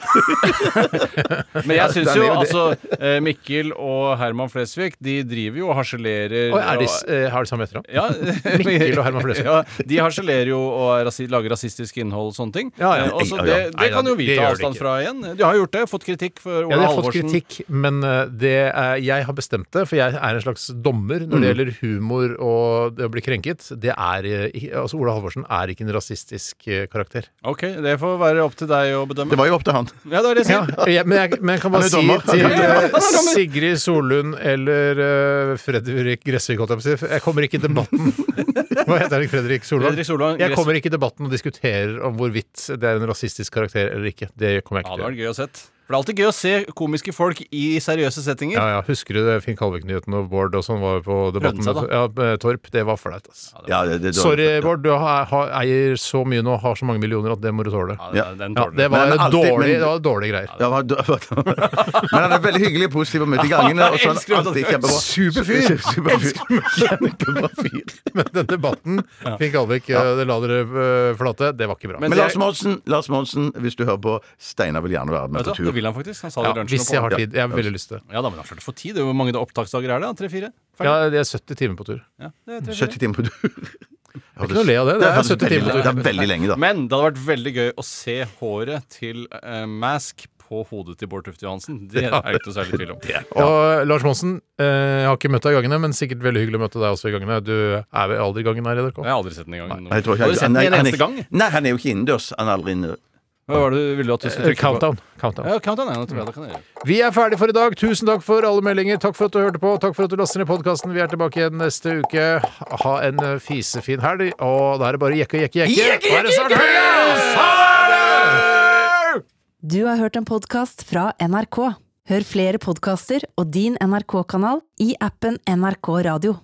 Men jeg syns den jo er jo det. altså eh, Mikkel og Herman Flesvig, de driver jo og harselerer Og er de, og- s- eh, har de samme etternavn? Ja, [LAUGHS] [LAUGHS] Mikkel og Herman Flesvig. ja, de harselerer jo og er rasi lager rasistisk innhold og sånne ting. Ja, ja. Eh, også Ja, ja. det, Nei, det da, kan jo vi det ta gjør de avstand ikke. fra igjen. De har gjort det, fått kritikk for Ja, Ola de har fått Halvorsen. kritikk, men eh, det er, jeg har bestemt det, for jeg er en slags dommer Mm. når det gjelder humor og det å bli krenket. Det er, eh, ikke- altså Ola Halvorsen er ikke en rasistisk eh, [LAUGHS] karakter. Ok, det får være opp til deg å bedømme. [LAUGHS] Det var jo opp til han. Ja, det var det jeg Ja, sier. jeg, men, jeg, men jeg kan bare Han er si dommer. til eh, Han er dommer. Sigrid Solund eller eh, Fredrik Gressvik, holdt jeg på å si. Jeg kommer ikke i debatten. [LAUGHS] Hva heter han? Fredrik Solvang? Fredrik Solvang, Jeg Gress- kommer ikke i debatten og diskuterer om hvorvidt det er en rasistisk karakter eller ikke. Det kommer jeg Ja, det ikke til å var gjøre. gøy å sett. For det er alltid gøy å se komiske folk i seriøse settinger. Ja, ja. Husker du det Finn Kalvik-nyheten og Bård og sånn var jo på debatten? Prøvde seg, ja, med Torp, det var flaut, ass. Ja, det, det er dårlig. Sorry, Bård. Du har, har, eier så mye nå, har så mange millioner at det må du tåle. Ja, Ja, den, den tåler det, du. var Men alltid- dårlig, men- det var dårlige greier. Ja, men han- [LAUGHS] men han er veldig hyggelig og positiv og [LAUGHS] møte i gangene. Og sånn, Elsker han. alltid kjempebra. Superfyr. [LAUGHS] Superfyr. Kjempebra fyr. Men den debatten, [LAUGHS] Finn Kalvik, eh, det la dere eh, flate, det var ikke bra. Men Men det- Lars Monsen, Lars Monsen, hvis du hører på, Steinar vil gjerne være med Vet du, på hva, det tur. vil han faktisk. Han sa det ja, i lunsjen. hvis jeg nå har på- tid. Jeg har veldig lyst til det. Ja, da, men han klart å få tid. Det er jo Hvor mange opptaksdager er det? Tre-fire? Ja, det er 70 timer på tur. Ja, det er 70 tre-fire. timer på tur. Det ikke noe å le av det, det er høres 70 timer veldig- på tur. Det er veldig lenge, da. Men det hadde vært veldig gøy å se håret til eh, Mask på hodet til Bård Tufte Johansen. Det er det ikke noe særlig tvil om. Og Lars Monsen, eh, jeg har ikke møtt deg i gangene, men sikkert veldig hyggelig å møte deg også i gangene. Du er vel aldri i gangen her i NRK? Jeg har aldri sett den engang. Nei, jeg tror ikke- Har du sett den nei, en han er eneste gang? ikke- Nei, han er jo ikke innendørs. Han er aldri innendørs. Hva var det du ville at du skulle Eh, trykke på? Countdown. countdown. Ja, countdown. Ja, nettopp, ja, det kan jeg gjøre. Vi er ferdig for i dag. Tusen takk for alle meldinger. Takk for at du hørte på. Takk for at du lastet ned podkasten. Vi er tilbake igjen neste uke. Ha en eh, fisefin helg. Og da er det bare jekke, jekke, jekke. Nå er det snart helg! Du har hørt en podkast fra NRK. Hør flere podkaster og din NRK-kanal i appen NRK Radio.